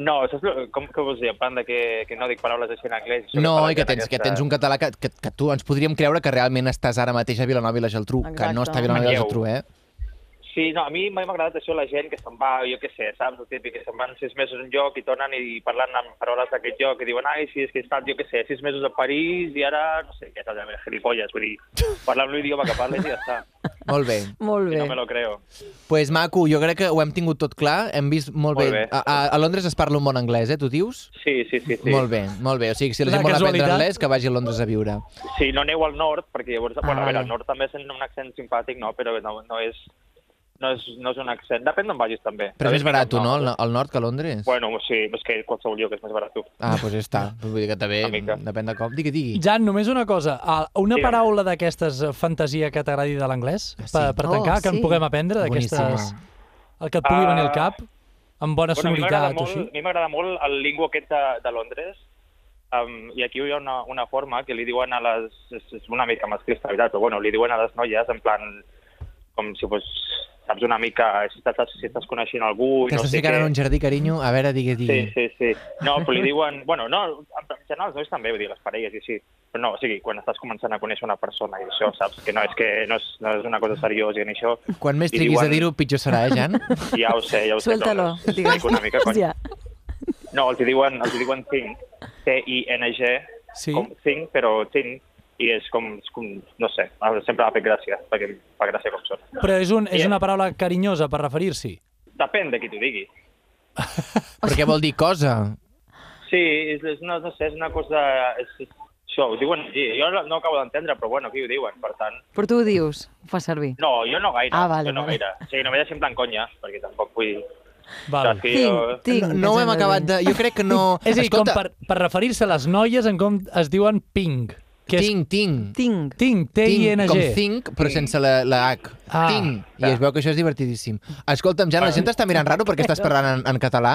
B: No, saps lo- com que vols dir? En plan de que, que no dic paraules així en anglès. això
E: No,
B: parlen
E: i que
B: en
E: tens, que
B: aquesta-
E: tens un català que, que, que tu ens podríem creure que realment estàs ara mateix a Vilanova i la Geltrú, que no
C: Exacte.
E: està a Vilanova i la
B: Manlleu.
E: Geltrú, eh?
B: Sí, no, a mi mai m'ha agradat això, la gent que se'n va, jo què sé, saps, el típic, que se'n van sis mesos a un lloc i tornen i parlen amb paraules d'aquest lloc i diuen, ai, sí, és que he estat, jo què sé, sis mesos a París i ara, no sé, què saps, a veure, gilipolles, vull dir, parlar amb l'idioma que parles i ja està.
E: Molt bé.
C: Molt
B: I no me
C: bé.
B: lo creo.
E: pues, maco, jo crec que ho hem tingut tot clar, hem vist molt,
B: Molt
E: bé.
B: bé.
E: A, a, a Londres es parla un bon anglès, eh, tu dius?
B: Sí, sí, sí. sí.
E: Molt bé, molt bé. O sigui, si la
D: La
E: gent vol aprendre
D: casualitat.
E: anglès, que vagi a Londres a viure.
B: Sí, no aneu al nord, perquè llavors...
E: Ah,
B: Ah, bueno, a veure,
E: vale.
B: al nord també és un accent simpàtic, no, però no, no, és, no, és, no és un accent... Depèn d'on vagis, també.
E: Però és més barat, no,
B: El...
E: al, al nord que a Londres?
B: Bueno, sí, és que qualsevol lloc és més barat.
E: Ah, doncs ja està. Vull dir que també
B: Una mica.
E: depèn de com. Digui, digui.
D: Jan, només una cosa. Ah, Una
B: Digue'm.
D: paraula d'aquestes eh, fantasia que t'agradi de l'anglès
E: Ah, sí?
D: per, per
C: Oh,
D: tancar, que en
C: sí.
D: puguem aprendre, d'aquestes...
E: Boníssima.
D: El que et pugui venir al
B: Ah.
D: cap, amb bona
B: Bueno, a mi m'agrada
D: sonoritat o
B: molt,
D: així.
B: a mi m'agrada molt el lingo aquest de, de Londres, um, i aquí hi ha una, una forma que li diuen a les... És, és una mica masclista, la veritat, però bueno, li diuen a les noies, en plan, com si fos, saps, una mica, si estàs, si estàs coneixent algú... i
E: Que
B: no
E: estàs
B: sé
E: ficant
B: què.
E: en un jardí, carinyo. A veure, digui, digui.
B: Sí, sí, sí. No, però li diuen... Bueno, no, en general els nois també, vull dir, les parelles i així. Però no, o sigui, quan estàs començant a conèixer una persona i això, saps? Que no és, que no és, no és una cosa seriosa i ni això...
E: Quan més
B: I
E: triguis a
B: diuen-
E: dir-ho, pitjor serà, eh, Jan?
B: Ja ho sé, ja ho sé.
C: Suéltalo,
B: però
C: digues.
B: explico Una mica, cony.
C: Ja.
B: No, els hi diuen, els hi diuen think, T-I-N-G,
D: Sí.
B: com think, però think, i és com, és com no sé, sempre m'ha fet gràcia, perquè em fa gràcia com sona.
D: Però és, un, és
B: Ja.
D: una paraula carinyosa per referir-s'hi.
B: Depèn de qui t'ho digui.
E: Perquè vol dir cosa.
B: Sí, és, és una, no sé, és una cosa... És, és, això, ho diuen així. Jo no, no acabo d'entendre, però bueno, aquí ho diuen, per tant...
C: Però tu ho dius, ho fas servir.
B: No, jo no gaire.
C: Ah, vale,
B: jo no
C: vale.
B: gaire. Sí, no m'he deixat en plan conya, perquè tampoc vull...
D: Val.
B: Saps que jo...
C: Tinc, tinc.
E: No, no ho hem acabat de... Jo crec que no...
D: És a dir, com
E: Escolta,
D: per, per referir-se a les noies en com es diuen ping. Que és
E: Tinc, tinc.
C: Tinc.
D: Tinc,
E: Tinc, com
D: T-I-N-G.
E: think, però sense la, la H.
D: Ah.
E: Tinc. I es veu que això és divertidíssim. Escolta'm, Jan, la gent t'està mirant raro perquè estàs parlant en, en català?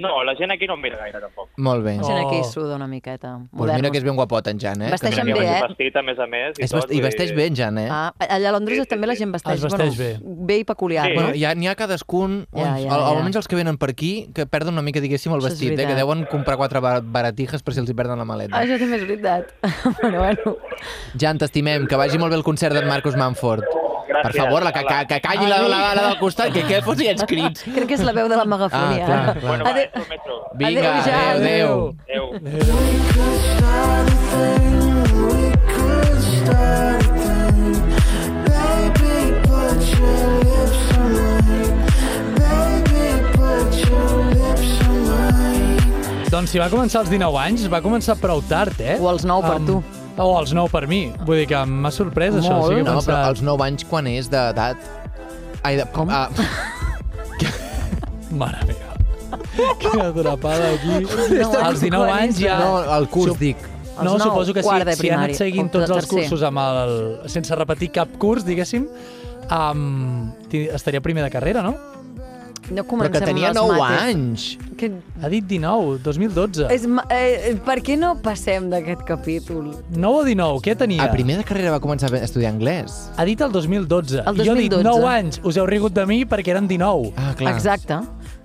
B: No, la gent aquí no em mira gaire, tampoc.
E: Molt bé.
C: La
E: Doncs
C: gent aquí
D: Oh.
C: suda una miqueta.
E: pues mira
C: Modernos.
E: que és ben guapot, en Jan, eh?
C: Vesteix
E: Que
C: amb
E: no-
C: bé, eh?
B: Vestit, a més a més, i
E: És
B: tot.
E: vest... I vesteix bé, en Jan, eh?
C: Ah, allà a Londres
B: Sí, sí,
C: també la
B: sí.
C: gent vesteix,
D: Es vesteix
C: bueno, bé i peculiar.
B: Sí.
E: Bueno,
C: no?
E: ja n'hi ha cadascun,
C: Ja,
E: uns,
C: ja,
E: al-
C: ja.
E: almenys els que venen per aquí, que perden una mica, diguéssim, el
C: Això és
E: vestit, eh? que
C: veritat.
E: deuen comprar quatre bar- baratijes per si els hi perden la maleta.
C: Ah, Això també és veritat. bueno, bueno.
E: Jan, t'estimem, que vagi molt bé el concert d'en Marcus Manford. Per
B: Gràcies.
E: favor, la, que, que,
B: Hola.
E: que calli la, la, la, del costat, que què fos els crits.
C: Crec que és la veu de la megafonia.
E: Ah, clar, clar.
B: Bueno, va,
C: Adéu.
B: entro al metro.
E: Vinga,
C: Adéu, Jan.
E: adéu, adéu.
B: Adéu.
D: Doncs si va començar als 19 anys, va començar prou tard, eh?
C: O als 9 per tu.
D: O als 9 per mi. Vull dir que m'ha sorprès això.
C: Molt.
D: O sigui, que
E: No,
D: pensava-
E: però als 9 anys quan és d'edat? Ai, de... Com? Ah,
D: Mare meva. Quina atrapada aquí. als 19
C: quan
D: anys
C: és
D: ja...
E: no, el curs,
D: Sup-
E: dic.
D: No,
C: Als nou,
D: suposo que sí.
C: quart de
D: Si ha
C: primària,
D: anat seguint
C: o
D: tots els
C: tercer.
D: cursos amb el... sense repetir cap curs, diguéssim, um, estaria primer de carrera, no?
C: No
E: Però
C: comencem
E: que tenia
C: amb els
E: 9
C: mates.
E: anys.
C: Que...
D: Ha dit 19, 2012.
C: És, ma- eh, per què no passem d'aquest capítol?
D: 9 o 19, què tenia?
E: A primer de carrera va començar a estudiar anglès.
D: Ha dit el 2012.
C: El
D: Jo he dit
C: 2012.
D: 9 anys. Us heu rigut de mi perquè eren 19.
E: Ah, clar.
C: Exacte.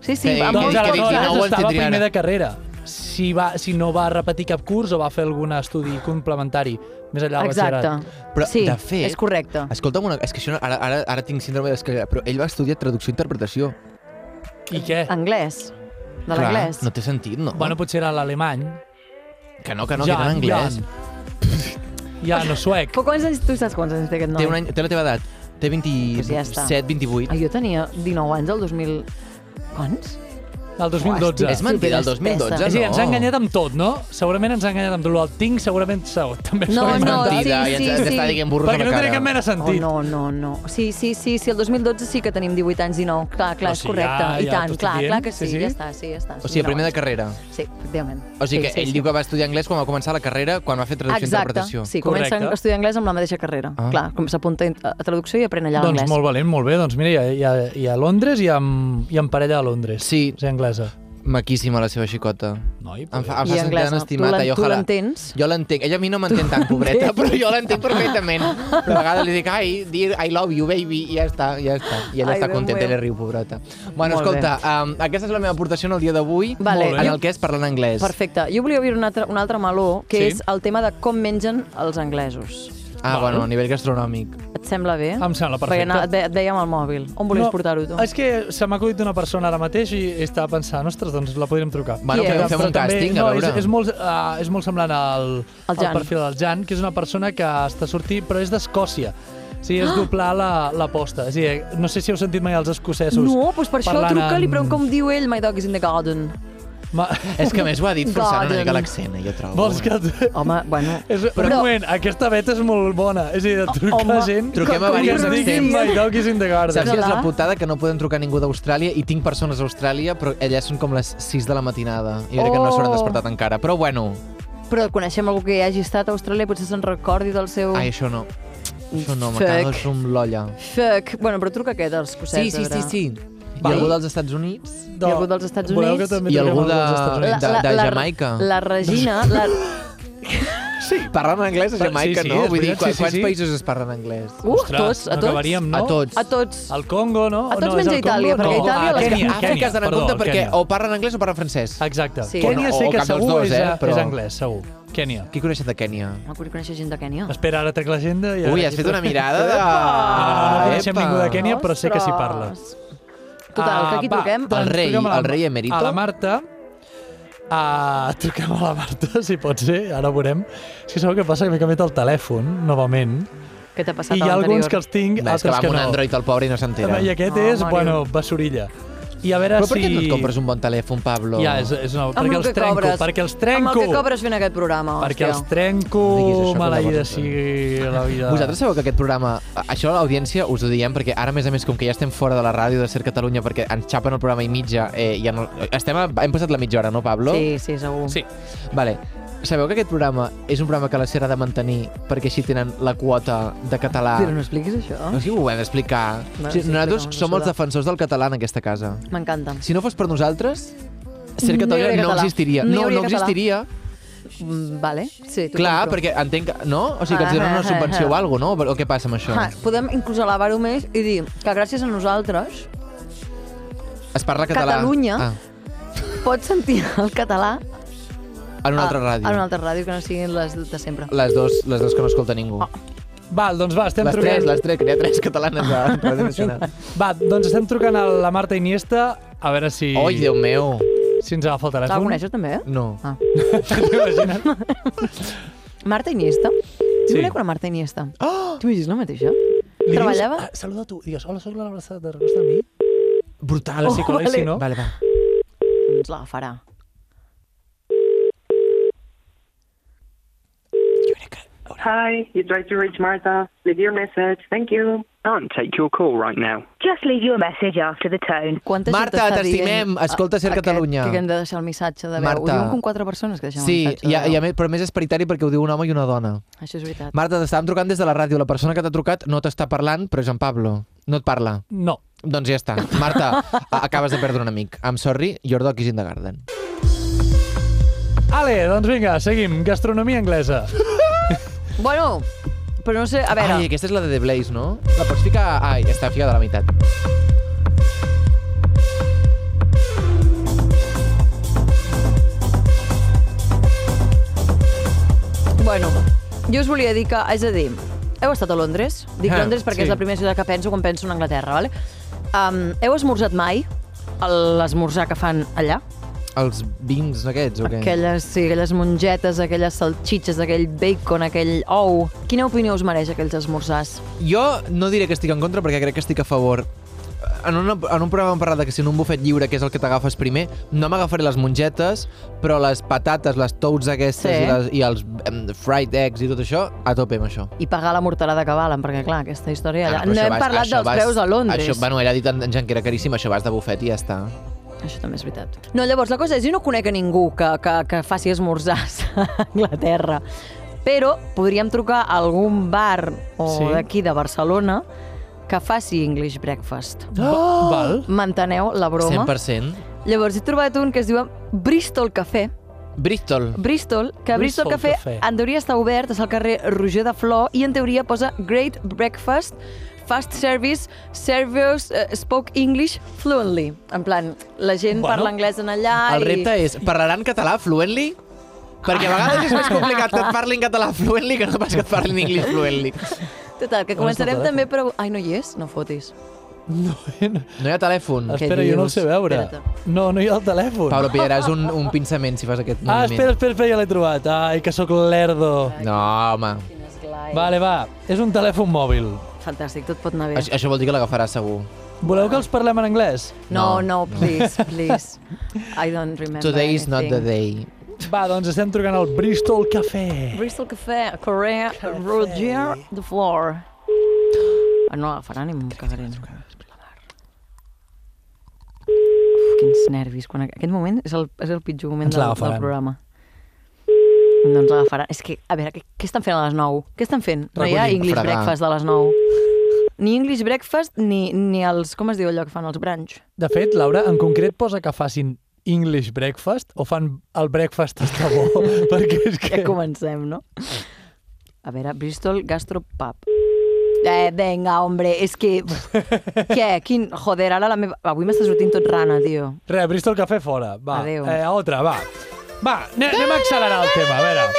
C: Sí, sí,
E: Que-
C: amb
E: que-
D: Doncs
C: molts
E: que
C: coses.
D: aleshores
E: digui 19
D: estava
E: ens
D: a
E: tindria
D: primer
E: ara.
D: de carrera. Si, va, si no va repetir cap curs o va fer algun estudi complementari més enllà del
C: Exacte.
D: batxillerat.
E: Però,
C: sí,
E: de fet-
C: és correcte.
E: Escolta'm una... És que això no- ara, ara, ara tinc síndrome d'escalera, però ell va estudiar traducció i interpretació.
D: I què?
C: Anglès. De
E: Clar,
C: l'anglès.
E: No té sentit, no?
D: Bueno, potser era l'alemany.
E: que no, que no, ja, que era en anglès. Ja.
D: Ja, no suec.
C: Però quants anys, tu saps quants anys té aquest noi?
E: Té, un any, té la teva edat. Té
C: Pues ja està.
E: 27, 28.
C: Ah, jo tenia 19 anys el 2000... Quants?
D: El 2012.
E: És mentida, el 2012
C: Hòstia,
E: no.
D: És a dir, ens ha enganyat amb tot, no? Segurament ens ha enganyat amb tot. El tinc segurament se- també s'ho
C: No, Oh, no,
D: ha inventat.
C: sí,
E: mentida, i ens,
C: sí,
E: ens
C: sí.
E: està dient burros
D: Perquè
E: a
D: no
E: la
D: tenia
E: cara.
D: cap mena de
C: Oh,
D: sentit.
C: no, no, no. Sí, sí, sí, sí, el 2012 sí que tenim 18 anys i 19. Clar, clar,
D: No,
C: és
D: sí,
C: correcte.
D: ja-
C: I
D: ja t'ho
C: tant,
D: estic
C: clar,
D: dient.
C: clar que sí,
D: Sí, sí.
C: ja està, sí, ja està.
E: O sigui, primer de carrera.
C: Sí, efectivament.
E: O sigui que
C: Sí, sí,
E: ell
C: sí.
E: diu que va estudiar anglès quan va començar la carrera, quan va fer traducció i
C: Exacte,
E: interpretació.
C: sí, comença
D: Correcte.
C: a estudiar anglès amb la mateixa carrera.
E: Ah.
C: Clar, com s'apunta a traducció i aprèn allà
D: Doncs
C: l'anglès.
D: molt valent, molt bé. Doncs mira, i a, i a, i a Londres i amb, i amb parella a Londres.
E: Sí.
D: És anglesa.
E: Maquíssima la seva xicota.
D: Noi,
E: Em fa, em
C: I
E: fa sentir tan
C: anglesa. Tu
E: estimada.
C: l'en-
E: jo
C: tu
E: ojalà-
C: l'entens?
E: Jo l'entenc. Ella a mi no m'entén tant, pobreta, però jo l'entenc perfectament. Però a vegades li dic, ai, dir I love you, baby, i ja està, ja està. I ella
C: Ai,
E: està
C: Déu
E: contenta i
C: meu.
E: li riu, pobreta. Bueno,
C: Molt
E: escolta, um, aquesta és la meva aportació en el dia d'avui,
C: Vale.
E: en el que és parlant anglès.
C: Perfecte. Jo volia obrir un altre, un altre meló, que
D: Sí.
C: sí. és el tema de com mengen els anglesos.
E: Ah, bueno, a nivell gastronòmic.
C: Et sembla bé?
D: Em sembla
C: Perquè
D: perfecte.
C: no, et, ve, et dèiem al mòbil. On volies no, portar-ho, tu?
D: És que se m'ha acudit una persona ara mateix i estava pensant, ostres, doncs la podríem trucar.
E: Bueno,
C: Qui
E: fem,
C: és?
E: fem un
D: Però també-
E: càsting,
D: no,
E: a veure.
D: És, és, molt, uh, és molt semblant al,
C: Al
D: al
C: Jan.
D: perfil del Jan, que és una persona que està sortint, però és d'Escòcia. Sí,
C: Ah!
D: és doblar la- l'aposta. La, és a dir, no sé si heu sentit mai els escocesos.
C: No, doncs per això
D: parlant
C: truca-li,
D: amb-
C: però com diu ell, my dog is in the garden.
D: Ma...
E: És que a més ho ha dit forçant una
C: Garden.
E: mica l'accent, eh, jo trobo.
D: Vols que...
C: Home, bueno...
D: És, però, un
C: Però-
D: moment, aquesta beta és molt bona. És a dir, de trucar
C: Home,
D: a gent...
E: Truquem a
D: que ens
E: diversos
D: diguin
E: extrems.
D: My dog is in the garden.
E: Saps que és la
C: Clar.
E: putada que no podem trucar ningú d'Austràlia i tinc persones a Austràlia, però allà són com les 6 de la matinada. Jo crec que no s'hauran
C: Oh.
E: despertat encara, però bueno.
C: Però coneixem algú que hagi estat a Austràlia, potser se'n recordi del seu...
E: Ai, això no. Això no,
C: Fuck.
E: m'acaba amb l'olla.
C: Fuck. Bueno, però truca aquest, els
E: Sí,
C: cosets.
E: sí, sí, sí. I
D: Vale.
E: algú dels Estats Units?
D: No.
C: Hi ha algú dels Estats
D: Voleu que
C: Units?
D: també
E: I
D: truquem
E: algú
D: algú dels
E: de-
D: Estats Units?
E: de- de Jamaica.
C: La Regina... La...
E: Sí. Parlen anglès a
D: Sí,
E: Jamaica,
D: sí,
E: no?
D: és
E: Vull dir,
D: veritat,
E: quan,
D: sí, sí,
E: quants
D: sí.
E: països es parlen anglès?
C: Uh, a tots, a
D: no
C: tots.
D: acabaríem, no?
E: A tots.
C: A tots.
D: Al Congo, no?
C: A tots
D: no, és
C: menys a
D: al
C: Itàlia,
D: Congo,
C: perquè
D: no.
C: Itàlia
D: Ah,
C: la-
D: Kènia,
E: Àfrica
D: Kènia,
E: has d'anar en
D: perdó,
E: compte perquè
D: Kènia.
E: o parlen anglès o parlen francès.
D: Exacte.
C: Sí.
D: Kènia
E: O-
D: sé
E: o
D: que
E: cap dels
D: segur
E: dos,
D: és,
E: eh, però-
D: és anglès, segur. Kènia.
E: Qui coneixes de Kènia?
C: No coneixer gent de Kènia.
D: Espera, ara trec l'agenda. i ara-
E: Ui, has fet una mirada de...
D: No, no, no coneixem
E: Epa.
D: ningú de Kènia, però sé que s'hi parla. Ah,
C: Ostres. Total, que aquí
D: va, doncs,
C: truquem.
E: El rei,
D: truquem a la-
E: el rei emèrito.
D: A la Marta. Uh, truquem a la Marta, si pot ser, ara ho veurem. És que sabeu què passa? Que m'he canviat el telèfon, novament,
C: Què t'ha passat
D: i hi ha alguns que els tinc,
E: Va, és que
D: altres
E: va
D: que,
E: amb un
D: no.
E: Android al pobre i no s'entera.
D: I aquest
C: Ah,
D: és,
C: Mario.
D: bueno, basurilla. I a veure
E: Però
D: si...
E: per què no et compres un bon telèfon, Pablo?
D: Ja,
C: eh,
D: és, és una...
C: Amb
D: perquè
C: el
D: els
C: que
D: trenco,
C: cobres.
D: perquè els
C: Amb
D: trenco.
C: el que cobres fent aquest programa, hòstia.
D: perquè els trenco,
E: No diguis això, que
D: maleïda
E: llavors-
D: sigui la vida.
E: Vosaltres sabeu que aquest programa, a- això a l'audiència us ho diem perquè ara, a més a més, com que ja estem fora de la ràdio de Ser Catalunya perquè ens xapen el programa i mitja, eh, ja no, estem a, hem passat la mitja hora, no, Pablo?
C: Sí, sí, segur.
D: Sí.
E: Vale. Sabeu que aquest programa és un programa que la Ser ha de mantenir perquè així tenen la quota de català.
C: Però no expliquis això.
E: No sé si ho hem d'explicar.
C: Bueno,
E: o sigui,
C: sí,
E: nosaltres
C: explica'm,
E: som els
C: Solà.
E: defensors del català en aquesta casa.
C: M'encanta.
E: Si no fos per nosaltres, Ser
C: No hi
E: Catalunya
C: hauria
E: no,
C: català.
E: existiria.
C: No hi
E: No,
C: hauria
E: no
C: català.
E: existiria.
C: Mm, Vale, sí, t'ho
E: Clar,
C: compro.
E: perquè entenc que... No? O sigui, que ens donen
C: Ah,
E: una
C: ah,
E: subvenció
C: ah.
E: o alguna cosa, no? O què passa amb això?
C: Ah, podem inclús elevar-ho més i dir que gràcies a nosaltres
E: Es parla català.
C: Catalunya.
E: Ah,
C: pots sentir el català
E: en una altra ràdio.
C: a Ah, una altra ràdio que no siguin les de sempre.
E: Les dos, les dos que no escolta ningú.
C: Ah,
D: Val, doncs va, estem
E: les
D: trucant...
E: tres, les tres, que n'hi ha tres catalanes a Ràdio Nacional.
D: Va, doncs estem trucant a la Marta Iniesta, a veure si,
E: Oi, Déu meu.
D: si ens agafa el
C: La
D: telèfon.
C: coneixes també, eh?
E: No.
C: Ah.
D: T'imagines?
C: Marta Iniesta. Jo
D: Sí.
C: conec una Marta Iniesta.
E: Ah!
C: Oh! T'ho la mateixa?
D: Li
C: Treballava?
D: Dius, ah, saluda tu, digues, hola, soc la Marta, te recordes de mi?
E: Brutal.
D: Oh, si conec,
C: vale.
D: si no.
E: Vale, va.
C: Ens l'agafarà.
F: Hi, you tried to reach Martha. Leave your message. Thank you.
G: can't take your call right now.
H: Just leave your message after the tone.
C: Quanta
E: Marta,
C: gent està
E: t'estimem.
C: dient,
E: Escolta Ser
C: "Ah, aquest,
E: Catalunya."
C: Que hem de deixar el missatge de veu. Ho
E: Marta.
C: diuen com quatre persones que deixen
E: Sí,
C: el missatge
E: i, a,
C: de
E: i a
C: veu.
E: més, però a més és paritari perquè ho diu un home i una dona.
C: Això és veritat.
E: Marta, t'estàvem trucant des de la ràdio. La persona que t'ha trucat no t'està parlant, però és en Pablo. No et parla.
D: No.
E: Doncs ja està. Marta, a- acabes de perdre un amic. I'm sorry, your dog is in the garden.
D: Ale, doncs vinga, seguim. Gastronomia anglesa.
C: Bueno, però no sé, a veure...
E: Ai, aquesta és la de The Blaze, no? La pots ficar... Ai, està ficada a la meitat.
C: Bueno, jo us volia dir que, és a dir, heu estat a Londres? Dic
E: Ah,
C: Londres perquè
E: sí.
C: és la primera ciutat que penso quan penso en Anglaterra, vale? Um, heu esmorzat mai el- l'esmorzar que fan allà?
E: Els vins aquests, o què?
C: Aquelles, sí, aquelles mongetes, aquelles salxitxes, aquell bacon, aquell ou... Quina opinió us mereix aquells esmorzars?
E: Jo no diré que estic en contra perquè crec que estic a favor. en, una, en un programa hem parlat de que si en un bufet lliure, que és el que t'agafes primer, no m'agafaré les mongetes, però les patates, les toads aquestes
C: Sí.
E: i, les, i els em, fried eggs i tot això, a tope amb això.
C: I pagar la morterada que valen, perquè, clar, aquesta història...
E: Ah,
C: Allà...
E: però
C: no
E: això
C: hem
E: vas-
C: parlat
E: això
C: dels preus a Londres.
E: Això, bueno, ell ha dit en, en Jan que era caríssim, això vas de bufet i ja està.
C: Això també és veritat. No, llavors, la cosa és, jo no conec a ningú que, que, que faci esmorzars a Anglaterra, però podríem trucar a algun bar o
D: Sí.
C: sí. d'aquí de Barcelona que faci English breakfast.
D: Oh! Val?
C: M'enteneu la broma?
E: 100%.
C: Llavors, he trobat un que es diu Bristol Café.
E: Bristol.
C: Bristol, que
D: Bristol
C: Bristol, Café,
D: Café.
C: en teoria està obert, és al carrer Roger de Flor, i en teoria posa Great Breakfast, Fast Service, Servers eh, Spoke English Fluently. En plan, la gent
D: Bueno,
C: bueno, parla anglès en allà
E: El repte
C: i...
E: és, parlaran català fluently? Perquè a vegades és més complicat que et parlin català fluently que no pas que et parlin anglès fluently.
C: Total, que
D: On és el
C: començarem
D: telèfon?
E: eh?
C: també per... Ai, no hi és? No fotis.
D: No,
E: No hi ha telèfon.
C: Es-
D: espera, jo no el
C: dius?
D: sé veure.
C: Espera't.
D: No, no hi ha el telèfon.
E: Pablo, pillaràs un, un pinçament si fas aquest
D: Ah,
E: moviment.
D: espera, espera, espera, ja l'he trobat. Ai, que sóc lerdo.
E: No, home.
D: Vale, va, és un telèfon mòbil.
C: Fantàstic, tot pot anar bé.
E: Això, això vol dir que l'agafaràs segur.
D: Voleu que els parlem en anglès?
C: No,
E: no,
C: no, please, please. I don't remember
E: Today is not the
C: anything.
E: day.
D: Va, doncs estem trucant al Bristol Café.
C: Bristol Café, Correa, Roger, The Floor. Ah, no agafarà ni m'ho cagaré. no. Uf, quins nervis. Quan... Aquest moment és el, és el pitjor moment
D: Ens
C: del, del
D: l'agafaran.
C: programa. No ens l'agafaran. És que, a veure, què, què estan fent a les 9? Què estan fent? No hi ha
E: Recollim,
C: English
E: fregar.
C: Breakfast a les 9. Ni English Breakfast ni, ni els... Com es diu allò que fan els brunch?
D: De fet, Laura, en concret posa que facin English breakfast o fan el breakfast està bo? Perquè és
C: Ja
D: que...
C: comencem, no? A veure, Bristol Gastropub. Eh, venga, hombre, és que... Què? Quin... Joder, ara la meva... Avui m'està sortint tot rana, tio.
D: Re, Bristol Café fora. Va,
C: Adéu.
D: Eh, a otra, va. Va, ane- anem a accelerar el tema, a veure.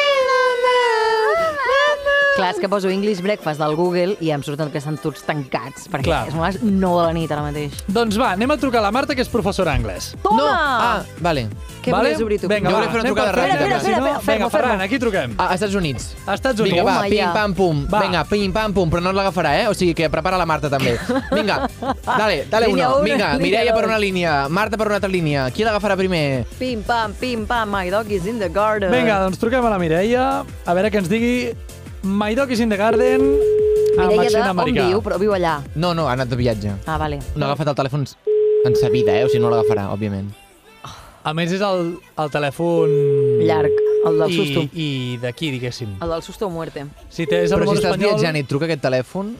C: Clar, és que poso English Breakfast del Google i em surten que estan tots tancats, perquè
D: Clar.
C: Clar. és unes 9 de la nit ara mateix.
D: Doncs va, anem a trucar a la Marta, que és professora d'anglès.
C: Toma!
E: No! Ah, vale.
C: Què
D: vale?
C: volies obrir tu?
D: Vinga,
E: Jo
D: va,
E: volia fer
D: anem
E: una
D: per
E: trucada
D: Ferran,
E: ràpida.
D: que si
C: Espera, espera,
D: no-
C: espera, fermo,
D: Vinga, Ferran,
C: fermo.
D: aquí truquem.
E: A, a Estats Units.
D: A Estats Units.
E: Vinga, va,
C: Home,
E: pim,
C: ja.
E: pam, pum.
D: Va.
E: Vinga, pim, pam, pum. Però no l'agafarà, eh? O sigui que prepara la Marta, també. Vinga, dale, dale
C: Línia
E: uno.
C: una,
E: Vinga,
C: línia
E: Mireia per
C: dos.
E: una línia, Marta per una altra línia. Qui l'agafarà primer?
C: Pim, pam, pim, pam, my dog is in the garden.
D: Vinga, doncs truquem a la Mireia, a veure que ens digui My Dog is in the Garden amb
C: Mireia de
D: accent
C: on
D: americà.
C: viu, però viu allà.
E: No, no, ha anat de viatge.
C: Ah, vale.
E: No ha agafat el telèfon en sa vida, eh? O sigui, no l'agafarà, òbviament.
D: A més, és el, el telèfon...
C: Llarg, el del
D: I,
C: susto.
D: i d'aquí, diguéssim.
C: El del susto o muerte.
D: Si tens el
E: Però si
D: món
E: estàs
D: espanyol,
E: viatjant i et truca aquest telèfon,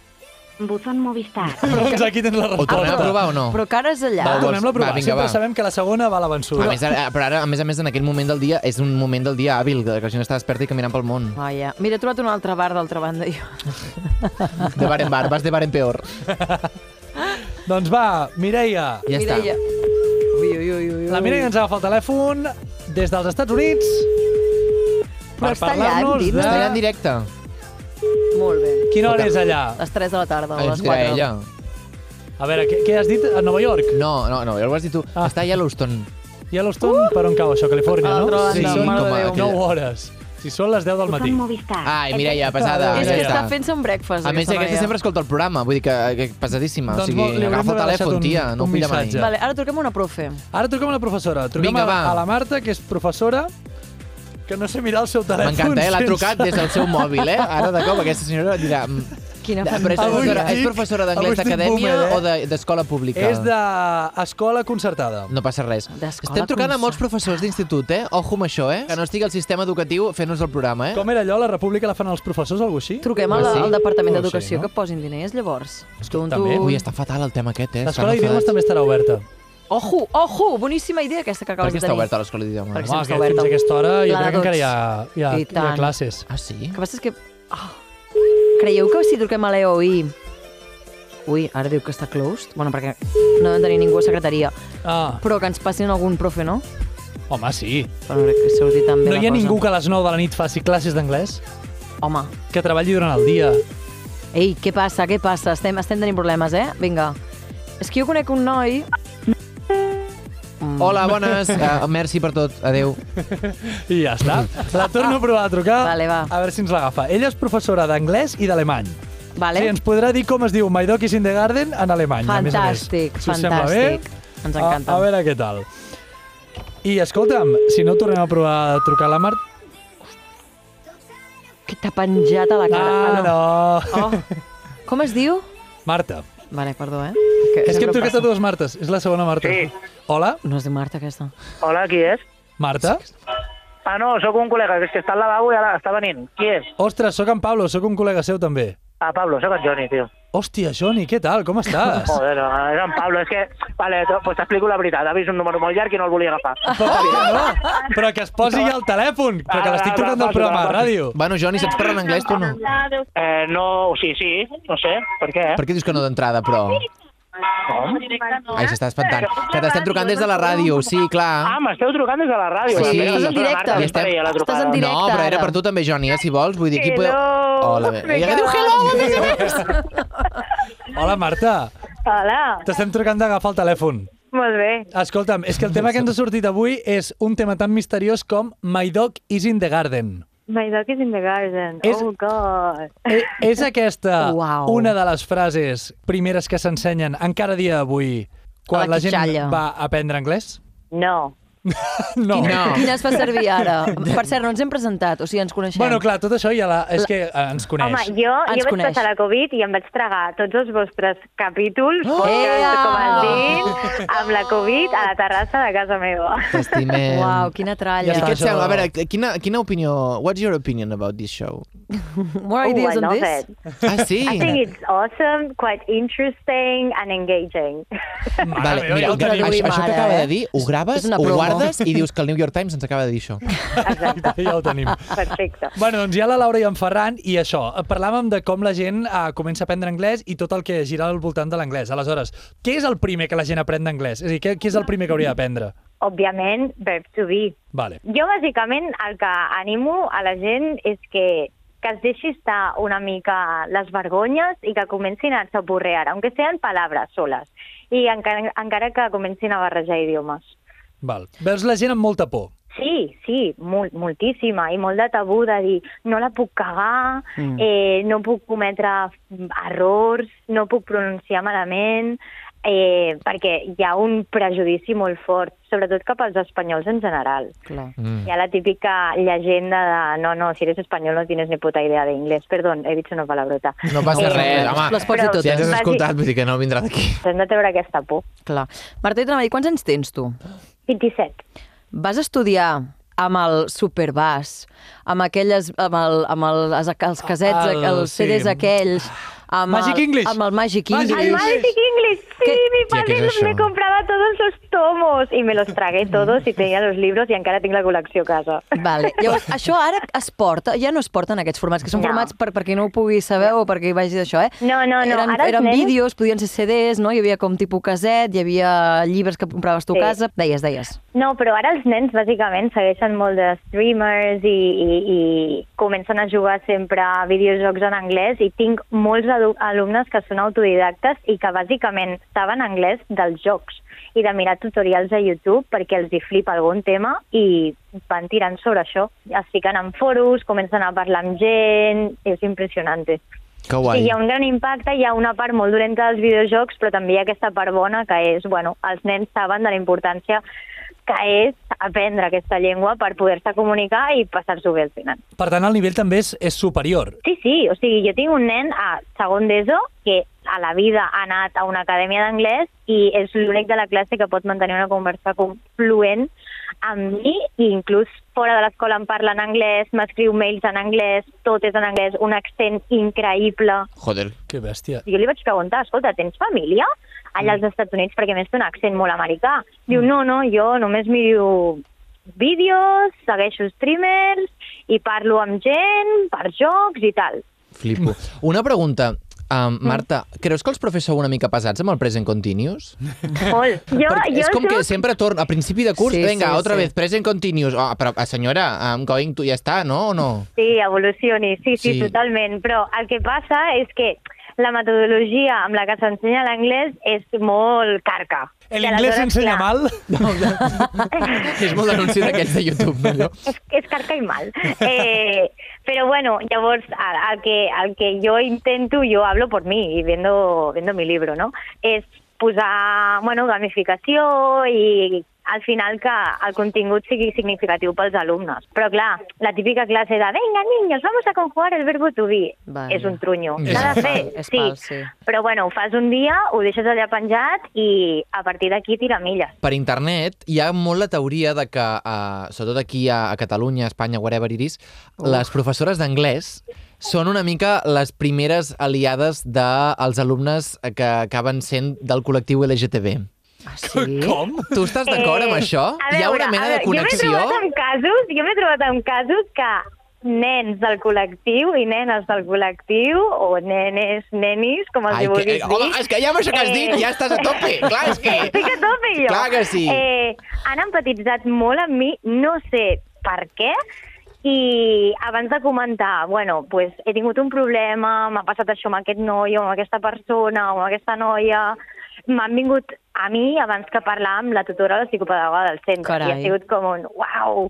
H: Buzón Movistar.
D: doncs aquí tens la
E: o tornem a
D: resposta.
E: provar o no?
C: Però que ara és allà.
E: Va, vol-
D: Tornem-la a provar.
E: Va, vinga,
D: Sempre
E: va.
D: sabem que la segona va a la
E: A
D: vençuda.
E: més, ara, però ara, a més a més, en aquell moment del dia, és un moment del dia hàbil, que la gent està desperta i caminant pel món.
C: Ah, ja. Mira, he trobat un altre bar d'altra banda. Jo.
D: Ah.
E: De bar en bar, vas de bar en peor.
D: Doncs va, Mireia.
E: Ja està.
C: Mireia. Ui, ui, ui, ui.
D: La Mireia ens agafa el telèfon des dels Estats Units
C: Però
D: per
C: està allà, hem
D: parlar-nos
C: dit,
D: de...
C: no?
E: Estarà en directe.
C: Molt bé.
D: Quina hora és allà?
C: Les 3 de la tarda, o
E: Ah,
C: les
E: dirà
C: 4.
E: ella.
D: A veure, què, què has dit? A Nova York?
E: No, no, no, ja ho has dit tu.
D: Ah.
E: Està a Yellowstone.
D: Yellowstone, per on cau això? Califòrnia,
C: Uh! A
D: no?
C: l'altra banda,
D: sí, són
E: mare de
D: com a
E: Déu.
D: 9 hores. Si són les 10 del matí.
H: Buzón Movistar.
E: Ai, Mireia, pesada.
C: És
E: ja
C: que
E: està.
C: està fent-se un breakfast,
E: A més, aquesta sempre escolta el programa, vull dir que, que pesadíssima.
D: Doncs vol-
E: o
D: li
E: sigui,
D: haurem
E: agafa el
D: d'haver
E: telèfon,
D: deixat un-
E: tia, no
D: un
E: ho pilla mai.
D: missatge.
C: Vale, ara truquem a una profe.
D: Ara truquem a la professora. Truquem
E: Vinga,
D: a, la-
E: va.
D: a la Marta, que és professora, que no sé mirar el seu telèfon.
E: M'encanta, eh? L'ha
D: sense-
E: trucat des del seu mòbil, eh? Ara de cop aquesta senyora dirà... "Mm,
C: Quina
E: Però és
D: Avui
E: professora,
D: estic-
E: és professora
D: avui
E: d'anglès
D: estic
E: d'acadèmia
D: boomer, eh?
E: o de- d'escola pública?
D: És d'escola concertada.
E: No passa res.
C: D'escola
E: Estem trucant a molts
C: concertada.
E: professors d'institut, eh? Ojo amb això, eh? Que no estigui el sistema educatiu fent-nos el programa, eh?
D: Com era allò? La república la fan els professors o alguna així?
C: Truquem
E: Ah,
C: al,
E: sí?
C: al Departament
D: No ho sé,
C: d'Educació
D: no?
C: que posin diners, llavors. Tum,
D: també.
C: tum.
E: Ui, està fatal el tema aquest, eh?
D: L'escola
E: Estan
D: d'idiomes
E: enfadats.
D: també estarà oberta.
C: Ojo, ojo, boníssima idea aquesta que
E: Per
C: acabes de
E: què està
C: tenir.
E: oberta l'escola d'idiomes?
C: Perquè sempre
D: Home,
C: està
D: que fins
C: oberta.
D: a aquesta hora jo
C: La de
D: crec que encara hi ha, hi ha,
C: I
D: hi ha
C: tant.
D: classes.
E: Ah, sí?
C: El que passa és que... Oh. Creieu que si truquem a l'EOI... Ui, ara diu que està closed? Bueno, perquè no deu tenir ningú a secretaria.
D: Ah,
C: Però que ens passin algun profe, no?
D: home, sí.
C: Però crec que surti també
D: No
C: la
D: hi ha
C: cosa.
D: ningú que a les 9 de la nit faci classes d'anglès?
C: Home,
D: Que treballi durant el dia.
C: Ei, què passa, què passa? Estem, estem tenint problemes, eh? Vinga. És que jo conec un noi... Mm.
E: Hola, bones. Uh, merci per tot. Adéu.
D: I ja està. La torno a provar a trucar,
C: Vale, va.
D: a veure si ens l'agafa. Ella és professora d'anglès i d'alemany.
C: Vale.
D: Sí, ens podrà dir com es diu My Dog is in the Garden en alemany,
C: Fantàstic,
D: a més a més. Si us sembla bé,
C: fantàstic. Ens encanta.
D: A, a veure què tal. I escolta'm, si no tornem a provar a trucar a la Mar...
C: Que t'ha penjat a la cara.
D: Ah, no.
C: Oh. Com es diu?
D: Marta.
C: Vale, perdó, eh?
D: És que hem
C: sempre
D: trucat a dues Martes. És la segona Marta.
I: Sí.
D: Hola,
C: No es diu Marta, aquesta.
I: Hola, qui és?
D: Marta.
I: Ah, no, sóc un col·lega, que és que està al lavabo i ara està venint. Qui és?
D: Ostres, sóc en Pablo, sóc un col·lega seu també.
I: Ah, Pablo, sóc en Joni, tio.
D: Hòstia, Joni, què tal? Com estàs?
I: Joder, no, és en eh, Pablo, és que... Vale, t- pues t'explico la veritat, ha vist un número molt llarg i no el volia agafar.
D: Però, no, però que es posi ja al telèfon, però que l'estic trucant del programa de ràdio.
E: Bueno, Joni, saps parlar en anglès tu o no?
I: Eh, no, o sigui, sí, no sé, per què?
E: Per què dius que no d'entrada, però?
I: Com?
E: Ai, s'està espantant. Que t'estem trucant des de la ràdio, sí,
I: Ah,
E: clar.
I: m'esteu trucant des de la ràdio.
E: Sí.
I: Mira,
E: Estàs en
I: la Marta,
C: directe.
I: que és per ella, la
C: Estàs en
I: trucada.
C: directe,
E: No, però era
C: ara.
E: per tu també, Joni, eh, si vols. Vull dir, aquí podeu... Hola, bé. Ella diu hello!
D: Hola, Marta.
J: Hola,
D: T'estem trucant d'agafar el telèfon.
J: molt bé.
D: Escolta'm, és que el tema que ens ha sortit avui és un tema tan misteriós com My Dog is in the Garden.
J: My dog is in the garden.
D: És-
J: Oh, God.
D: E és aquesta
C: Uau.
D: una de les frases primeres que s'ensenyen encara dia d'avui
C: A
D: quan
C: la
D: la, gent
C: quitxalla.
D: va aprendre anglès?
J: No.
D: No.
E: No.
C: Quina es fa servir ara? Per cert, no ens hem presentat, o sigui, ens coneixem.
D: Bueno, clar, tot això ja la... és que eh, ens coneix.
J: Home, jo,
C: Ens
J: jo vaig
C: coneix.
J: passar la Covid i em vaig tragar tots els vostres capítols, oh!
C: Ea!
J: com es diu, amb la Covid a la terrassa de casa meva.
E: T'estimem.
C: Uau, quina tralla.
E: I
D: està,
E: què et
D: això.
E: sembla? A veure, quina, quina opinió... What's your opinion about this show?
C: More ideas
J: I
C: on
J: love
C: this?
J: it.
E: Ah, sí?
J: I think it's awesome, quite interesting and engaging.
E: Vale,
D: Mare meva, ja
E: mira,
D: ho
E: això,
D: tenim.
C: traduïm
E: això que
C: ara,
E: acaba
C: eh?
E: de dir, ho
C: És
E: graves,
C: una
E: ho
C: promo.
E: guardes i dius que el New York Times ens acaba de dir això.
D: Ja ho tenim.
J: Perfecte.
D: Bueno, doncs hi ha la Laura i en Ferran, i això, eh, parlàvem de com la gent eh, comença a aprendre anglès i tot el que gira al voltant de l'anglès. Aleshores, què és el primer que la gent aprèn d'anglès? És a dir, què, què és el primer que hauria d'aprendre?
J: Òbviament, verb to be.
D: Vale.
J: Jo, bàsicament, el que animo a la gent és que, que es deixi estar una mica les vergonyes i que comencin a s'aporrear, aunque sean palabras soles, i encara, encara que comencin a barrejar idiomes.
D: Val. Veus la gent amb molta por.
J: Sí, sí, molt, moltíssima, i molt de tabú de dir no la puc cagar, mm. eh, no puc cometre errors, no puc pronunciar malament, eh, perquè hi ha un prejudici molt fort, sobretot cap als espanyols en general.
C: Clar.
J: Hi ha la típica llegenda de no, no, si eres espanyol no tienes ni puta idea de inglés. Perdón, he dit una palabrota.
E: No passa res, home.
C: Les pots dir
J: Però-
E: Si ja
C: totes.
E: has
J: Vagi-
E: escoltat, vull dir que no vindrà d'aquí.
J: Hem de treure aquesta por.
C: Clar. Marta i Tramell, quants anys tens tu?
J: 27.
C: Vas estudiar amb el superbàs, amb aquelles, amb, el, amb el, els, els casets, el,
D: El-
C: els
D: sí.
C: CDs aquells, amb
D: Magic
C: el,
D: English.
C: Amb el Magic
D: Magic
C: English.
J: Al
D: English.
J: Magic English, sí,
C: ¿Qué?
J: mi
E: Tía, ¿qué
J: padre
E: es eso?
J: me compraba todos los tomos y me los tragué todos y tenía los libros y encara tinc la col·lecció a casa.
C: Vale. Llavors, això ara es porta, ja no es porten aquests formats, que són
J: No.
C: formats per, per qui no ho pugui saber o per qui vagi d'això, eh?
J: No, no, no,
C: Eren,
J: ara els
C: eren
J: nens-
C: vídeos, podien ser CDs, no? Hi havia com tipus caset, hi havia llibres que compraves tu a
J: Sí.
C: casa. Deies, deies.
J: No, però ara els nens bàsicament segueixen molt de streamers i, i, i comencen a jugar sempre a videojocs en anglès i tinc molts adu- alumnes que són autodidactes i que bàsicament saben anglès dels jocs i de mirar tutorials a YouTube perquè els hi flipa algun tema i van tirant sobre això. Es fiquen en foros, comencen a parlar amb gent, és impressionant.
E: Que
J: Sí,
E: guai.
J: hi ha un gran impacte, hi ha una part molt dolenta dels videojocs, però també hi ha aquesta part bona que és, bueno, els nens saben de la importància que és aprendre aquesta llengua per poder-se comunicar i passar-s'ho bé al final.
D: Per tant, el nivell també és, és superior.
J: Sí, sí, o sigui, jo tinc un nen a segon d'ESO que a la vida ha anat a una acadèmia d'anglès i és l'únic de la classe que pot mantenir una conversa com fluent amb mi i inclús fora de l'escola em parla en anglès, m'escriu mails en anglès, tot és en anglès, un accent increïble.
E: Joder.
D: Que bèstia.
J: jo li vaig preguntar, escolta, tens família
E: Mm.
J: allà als Estats Units? Perquè a més té un accent molt americà. Diu, no, no, jo només miro vídeos, segueixo streamers i parlo amb gent per jocs i tal.
E: Flipo. Una pregunta. Um, Marta, creus que els profes sou una mica pesats amb el present continuous?
J: Molt. Jo,
E: Perquè
J: jo
E: és com
J: soc...
E: que sempre torna, a principi de curs,
C: Sí,
E: sí, venga,
C: sí,
E: otra
C: sí.
E: vez, present continuous. Oh, però, ah, senyora, I'm going to... Ja està, no? O no?
J: Sí, evolucioni, sí, sí,
E: Sí.
J: sí, totalment. Però el que passa és que la metodologia amb la que s'ensenya l'anglès és molt carca. I
D: L'inglès
J: aleshores,
D: s'ensenya
J: clar,
D: mal?
E: És molt d'anunci d'aquells de YouTube, no, allò?
J: és, és carca i mal. Eh, pero bueno, llavors, al, al, que, al que yo intento, yo hablo por mí y viendo, viendo mi libro, ¿no? És posar, bueno, gamificació i al final que el contingut sigui significatiu pels alumnes. Però clar, la típica classe de venga, niños, vamos a conjugar el verbo to be,
C: Vaja.
J: és un trunyo.
E: És
J: S'ha de fer,
C: fals, és
J: sí.
C: fals, sí.
J: Però bueno, ho fas un dia, ho deixes allà penjat i a partir d'aquí tira milles.
E: Per internet hi ha molt la teoria de que, eh, sobretot aquí a, a Catalunya, Espanya, wherever it is, les professores d'anglès són una mica les primeres aliades dels alumnes que acaben sent del col·lectiu LGTB.
C: Ah, sí?
D: Com?
E: Tu estàs d'acord amb
J: Eh,
E: això?
J: a
E: hi ha
J: veure,
E: una mena
J: a
E: de
J: veure,
E: connexió?
J: Jo m'he trobat amb casos, jo m'he trobat amb casos que nens del col·lectiu i nenes del col·lectiu, o nenes, nenis, com els
E: Ai,
J: hi vulguis
E: que, eh, home,
J: dir.
E: és que ja amb això que has
J: Eh.
E: dit ja estàs a tope. Clar, és que...
J: Estic a tope, jo.
E: Clar que sí.
J: Eh, han empatitzat molt amb mi, no sé per què, i abans de comentar, bueno, pues, he tingut un problema, m'ha passat això amb aquest noi, o amb aquesta persona, o amb aquesta noia... M'han vingut a mi abans que parlar amb la tutora o la psicopedagoga del centre.
C: Carai.
J: I ha sigut com un uau!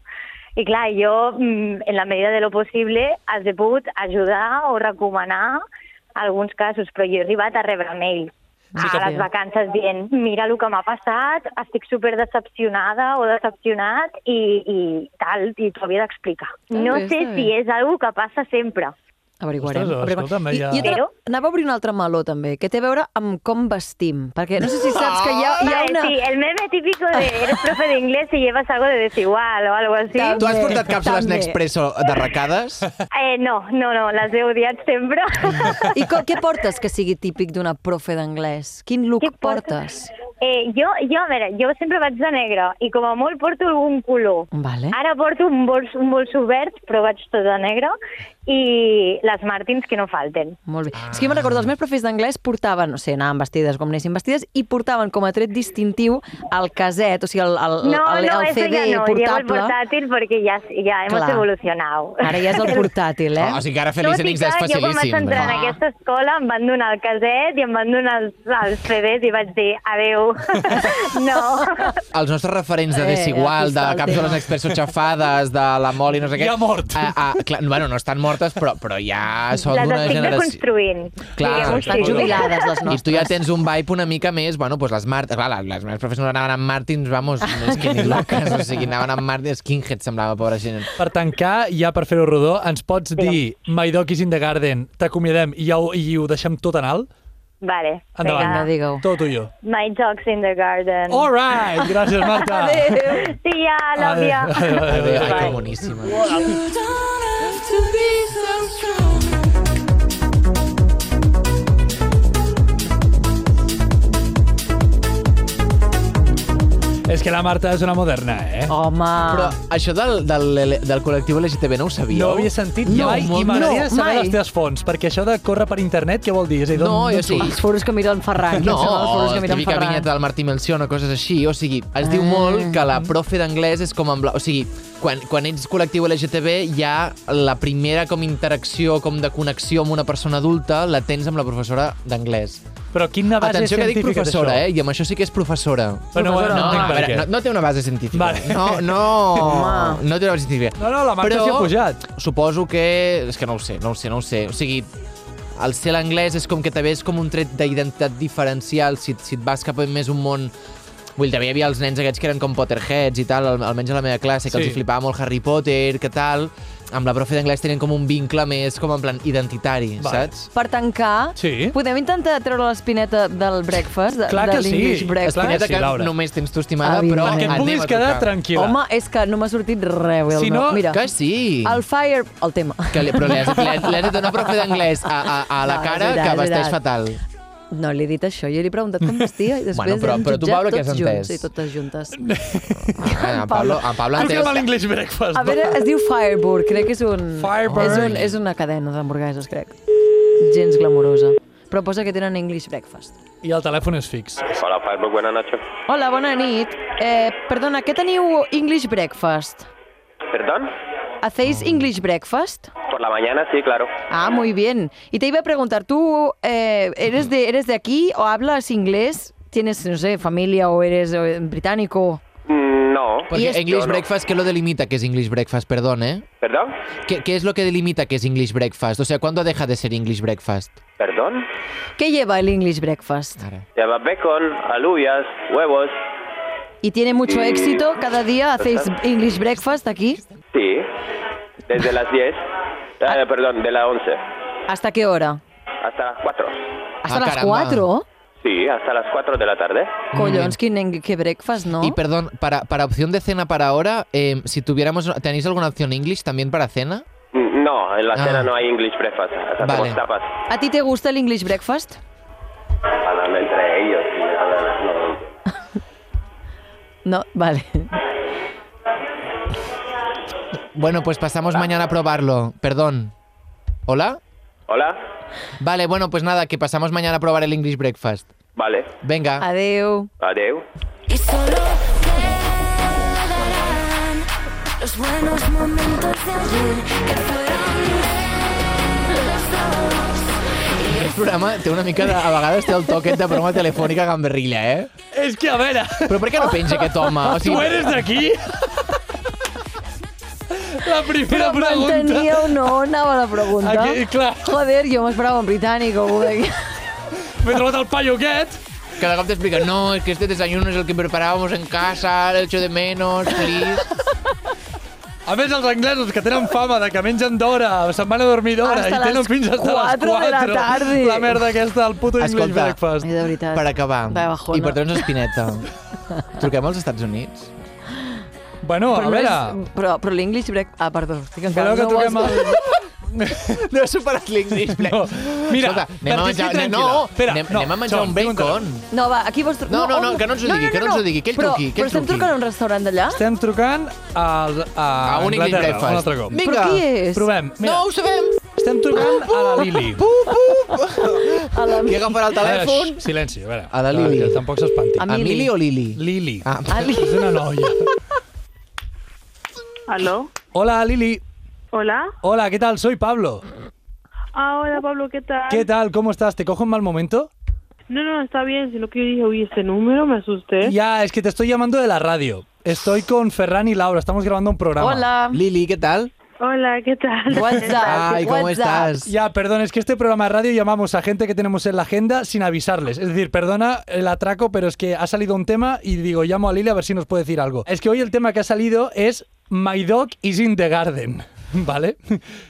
J: I clar, jo, mm, en la medida de lo possible, els he pogut ajudar o recomanar alguns casos, però jo he arribat a rebre mails
C: Sí que
J: a les
C: sí.
J: vacances dient mira el que m'ha passat, estic super decepcionada o decepcionat i, i tal, i t'ho havia d'explicar.
C: Està
J: No
C: bé,
J: sé
C: Ah, està
J: si
C: bé.
J: és algo que passa sempre.
C: Averiguarem.
D: Ostres,
C: averiguarem.
D: escolta'm,
C: I,
D: ja-
C: i
J: Però-
C: anava, anava a obrir un altre meló, també, que té a veure amb com vestim. Perquè no sé si saps que hi ha, hi ha
J: Vale,
C: una...
J: Eh, Sí, el meme típico de eres profe de inglés y llevas algo de desigual o algo así.
E: Tu has portat càpsules
C: També.
E: Nespresso de recades?
J: Eh, no, no, no, les he odiat sempre.
C: I co- què portes que sigui típic d'una profe d'anglès? Quin look
J: Què
C: portes?
J: Eh, jo, jo, a veure, jo sempre vaig de negre i com a molt porto algun color.
C: Vale.
J: Ara porto un bolso, un bolso verd, però vaig tot de negre, i les Martins que no falten.
C: Molt bé. Ah. És que jo me'n recordo, els meus professors d'anglès portaven, no sé, anaven vestides com anessin vestides, i portaven com a tret distintiu el caset, o sigui, el, el,
J: No,
C: el, el,
J: no, eso
C: CD
J: ya no, llevo el
C: portable.
J: portátil porque ya, ya hemos
C: Clar.
J: evolucionado.
C: Ara ja és el portàtil, eh?
E: Ah, o sigui que ara fer
J: Tot i
E: listening
J: que
E: és
J: jo quan vaig
E: facilíssim.
J: entrar en
E: Ah.
J: aquesta escola em van donar el caset i em van donar els, els CDs i vaig dir adeu. no.
E: Els nostres referents de
C: Eh,
E: Desigual,
C: aquí
E: de
C: està el
E: càpsules
C: tema.
E: expresso xafades, de la Moli, no sé què...
D: Ja mort.
E: Ah, ah, clar, bueno, no estan mortes, però, però ja són
J: Les
E: d'una
J: estic
E: generació...
J: deconstruint.
E: Clar,
J: diguem-ho
E: estan
J: així.
C: jubilades, les
E: I tu
C: nostres.
E: ja tens un vibe una mica més, bueno, doncs les Martins, clar, les, les meves professors anaven amb Martins, vamos, més que ni loques, o sigui, anaven amb Martins, Skinhead semblava, pobra gent.
D: Per tancar, ja per fer-ho rodó, ens pots dir My Dog is in the Garden, t'acomiadem i, ja ho, i ho deixem tot en alt?
J: Vale,
D: Endavant.
C: Vinga,
J: vinga.
C: digue-ho.
D: Tot tu i jo.
J: My dog's in the garden.
D: All right! Gràcies, Marta.
J: See ya, love ya.
D: Adéu, adéu, adéu.
E: Ai, que
J: Bye.
E: boníssima.
D: És que la Marta és una moderna, eh?
C: Home...
E: Però això del, del, del col·lectiu LGTB no ho sabíeu?
D: No ho havia sentit
E: No,
D: mai i
E: molt-
D: m'agradaria
C: no,
D: saber
C: mai.
D: les teves fonts, perquè això de córrer per internet, què vol dir? És a dir, d'on-
E: No, jo
D: d'on
E: sí.
D: surt?
C: Els foros que mira en Ferran.
E: No,
C: quins són els foros que
E: la
C: mira en
E: típica
C: Ferran.
E: vinyeta del Martí Melcion o coses així. O sigui, es
D: Eh.
E: diu molt que la profe d'anglès és com amb... La... O sigui, quan, quan ets col·lectiu LGTB hi ha la primera com interacció, com de connexió amb una persona adulta, la tens amb la professora d'anglès.
D: Però quina base
E: Atenció que dic
D: científica és
E: professora,
D: això?
E: eh? I amb això sí que és professora.
D: Però no,
E: No,
D: no,
E: a
D: entenc per
E: veure,
D: què.
E: Eh, no, no té una base científica.
D: Vale.
E: No, no, no té una base científica.
D: No, no, la Marta
E: Però-
D: s'hi ha pujat.
E: Suposo que... És que no ho sé, no ho sé, no ho sé. O sigui, el ser l'anglès és com que també és com un tret d'identitat diferencial si, si et vas cap a més un món... Vull dir, també hi havia els nens aquests que eren com Potterheads i tal, al- almenys a la meva classe, que
D: Sí.
E: sí. els hi flipava molt Harry Potter, que tal... Amb la profe d'anglès tenen com un vincle més com en plan identitari,
D: Vale.
E: saps?
C: Per tancar,
D: Sí.
C: podem intentar treure l'espineta del breakfast, de,
D: Clar
C: de
D: que sí.
C: l'English breakfast?
D: Clar
E: Espineta
D: sí,
E: que
D: Laura.
E: només tens tu estimada, però
C: Evidentment.
D: Que et
E: anem
D: puguis
E: a
D: quedar
E: tocar.
D: tranquila.
C: Home, és que no m'ha sortit res, Wilma.
D: Si no,
C: Mira,
E: Que sí!
C: el Fire... El tema.
E: Que li, però li has, li, has- li has de donar profe d'anglès a, a, a la
C: No, és
E: cara
C: veritat,
E: que
C: és
E: vesteix
C: veritat.
E: fatal.
C: No, li he dit això, jo li he preguntat com vestia i després
E: Bueno, però-
C: hem
E: però tu,
C: jutjat
E: Paula, què
C: tots
E: has entès?
C: junts, sí, totes juntes.
E: Ah, en Pablo, en Pablo
D: Toquem a
E: entès...
D: l'English Breakfast.
C: A veure, es diu Firebird, crec que és un...
D: Firebird.
C: És, un, és una cadena d'hamburgueses, crec. Gens glamurosa. Però posa que tenen English breakfast.
D: I el telèfon és fix.
B: Hola,
K: Ah,
B: Firebug, buenas noches.
C: Hola, bona nit. Eh, perdona, què teniu English breakfast?
B: ¿Perdón?
E: Mm.
C: ¿Hacéis English breakfast?
B: Por
K: la mañana, sí, claro.
C: Ah, muy bien. Y te iba a preguntar, ¿tú eh, eres, de, eres de aquí o hablas inglés? ¿Tienes, no sé, familia o eres eh, británico?
K: No.
E: Porque English
K: Yo no.
E: breakfast, ¿qué lo delimita que es English breakfast? Perdón, ¿eh?
K: ¿Perdón?
E: ¿Qué, qué es lo que delimita que es English breakfast? O sea, ¿cuándo deja de ser English breakfast?
K: ¿Perdón?
C: ¿Qué lleva el English Breakfast?
K: Lleva bacon, alubias, huevos.
C: ¿Y tiene mucho
K: Mm,
C: éxito? ¿Cada día hacéis
K: total.
C: English Breakfast aquí?
K: Sí. Desde las 10. Ah, perdón, de las 11.
C: ¿Hasta qué hora?
K: Hasta las 4.
C: ¿Hasta las 4?
K: Sí, hasta las 4 de la tarde.
C: Collons, quin en- que breakfast, ¿no?
E: Y perdón, para, para opción de cena para ahora, eh, si tuviéramos, ¿tenéis alguna opción English también para cena?
K: Mm, No, en la
E: Ah.
K: cena no hay English breakfast. Hacemos
E: Vale.
K: tapas.
C: ¿A ti te gusta el English Breakfast?
K: Hablando entre ellos. y hablan- no.
C: No, vale.
E: Bueno, pues pasamos mañana a probarlo. Perdón. ¿Hola?
K: Hola.
E: Vale, bueno, pues nada, que pasamos mañana a probar el English breakfast.
K: Vale.
E: Venga.
C: Adeu.
K: Adeu.
L: Y solo quedarán los buenos momentos de ayer que fueron de los dos.
E: El programa té una mica de... A vegades té el toquet de broma telefònica gamberrilla, eh?
D: És que, a veure...
E: Però per què no penja aquest home? O sigui,
D: Tu eres d'aquí? La primera
C: Però
D: pregunta...
C: mantenia o no anava la pregunta?
D: Aquí, clar.
C: Joder, jo m'esperava un britànic o algú d'aquí.
E: M'he trobat el paio aquest. Cada cop t'explica, no, es que este desayuno es el que preparábamos en casa, el echo de menos, please.
D: A més, els anglesos que tenen fama de que mengen d'hora, se'n van a dormir d'hora i
E: Hasta
D: tenen
E: les
D: fins hasta les 4
E: 4 de la tarde.
D: La merda aquesta, el puto English
E: Escolta,
D: breakfast.
C: de veritat.
E: Per acabar,
D: De bajona.
E: i per treure'ns espineta, truquem als Estats Units?
D: Bueno, a
C: no
D: veure...
C: és- però, però l'English Breakfast... Ah, perdó, estic encara...
D: Voleu que
C: no ho has-
D: truquem a...
E: No he superat l'English breakfast.
D: Mira,
E: Escolta, anem
D: perquè
E: a menjar...
D: estic tranquil·la.
E: No,
D: Espera,
E: anem,
D: no,
E: anem a menjar
D: segon,
E: un
D: tinc un
E: bacon.
C: No, va, aquí vols... tru-
E: No, no, no, que no ens ho digui, que no ens ho digui, que ell
C: però,
E: truqui, que ell
C: Però estem
E: truqui.
C: trucant a un restaurant d'allà?
D: Estem trucant al, a,
E: A un English
D: Anglaterra,
E: breakfast.
D: Un altre cop.
E: Vinga. Però qui és?
D: Provem. Mira,
E: ho sabem!
D: estem trucant a la Lili.
C: A la...
E: Qui agafarà el
D: A veure,
E: telèfon?
D: xx, silenci, a veure.
E: A la Lili.
D: Que tampoc s'espanti.
E: A Mili o Lili?
D: Lili.
E: Ah.
F: A Lili.
D: És una noia.
M: ¿Aló?
D: Hola, Lili.
M: Hola.
D: Hola, ¿qué tal? Soy Pablo.
M: Ah, hola Pablo, ¿qué tal?
D: ¿Qué tal? ¿Cómo estás? ¿Te cojo en mal momento?
M: No, no, está bien, sino que yo dije, uy, este número me asusté.
D: Ya, es que te estoy llamando de la radio. Estoy con Ferran y Laura, estamos grabando un programa.
M: Hola.
E: Lili, ¿qué tal?
M: Hola, ¿qué tal?
E: Ay, ¿cómo estás?
D: Ya, perdón, es que este programa de radio llamamos a gente que tenemos en la agenda sin avisarles. Es decir, perdona el atraco, pero es que ha salido un tema y digo, llamo a Lili a ver si nos puede decir algo. Es que hoy el tema que ha salido es My Dog is in the Garden. ¿Vale?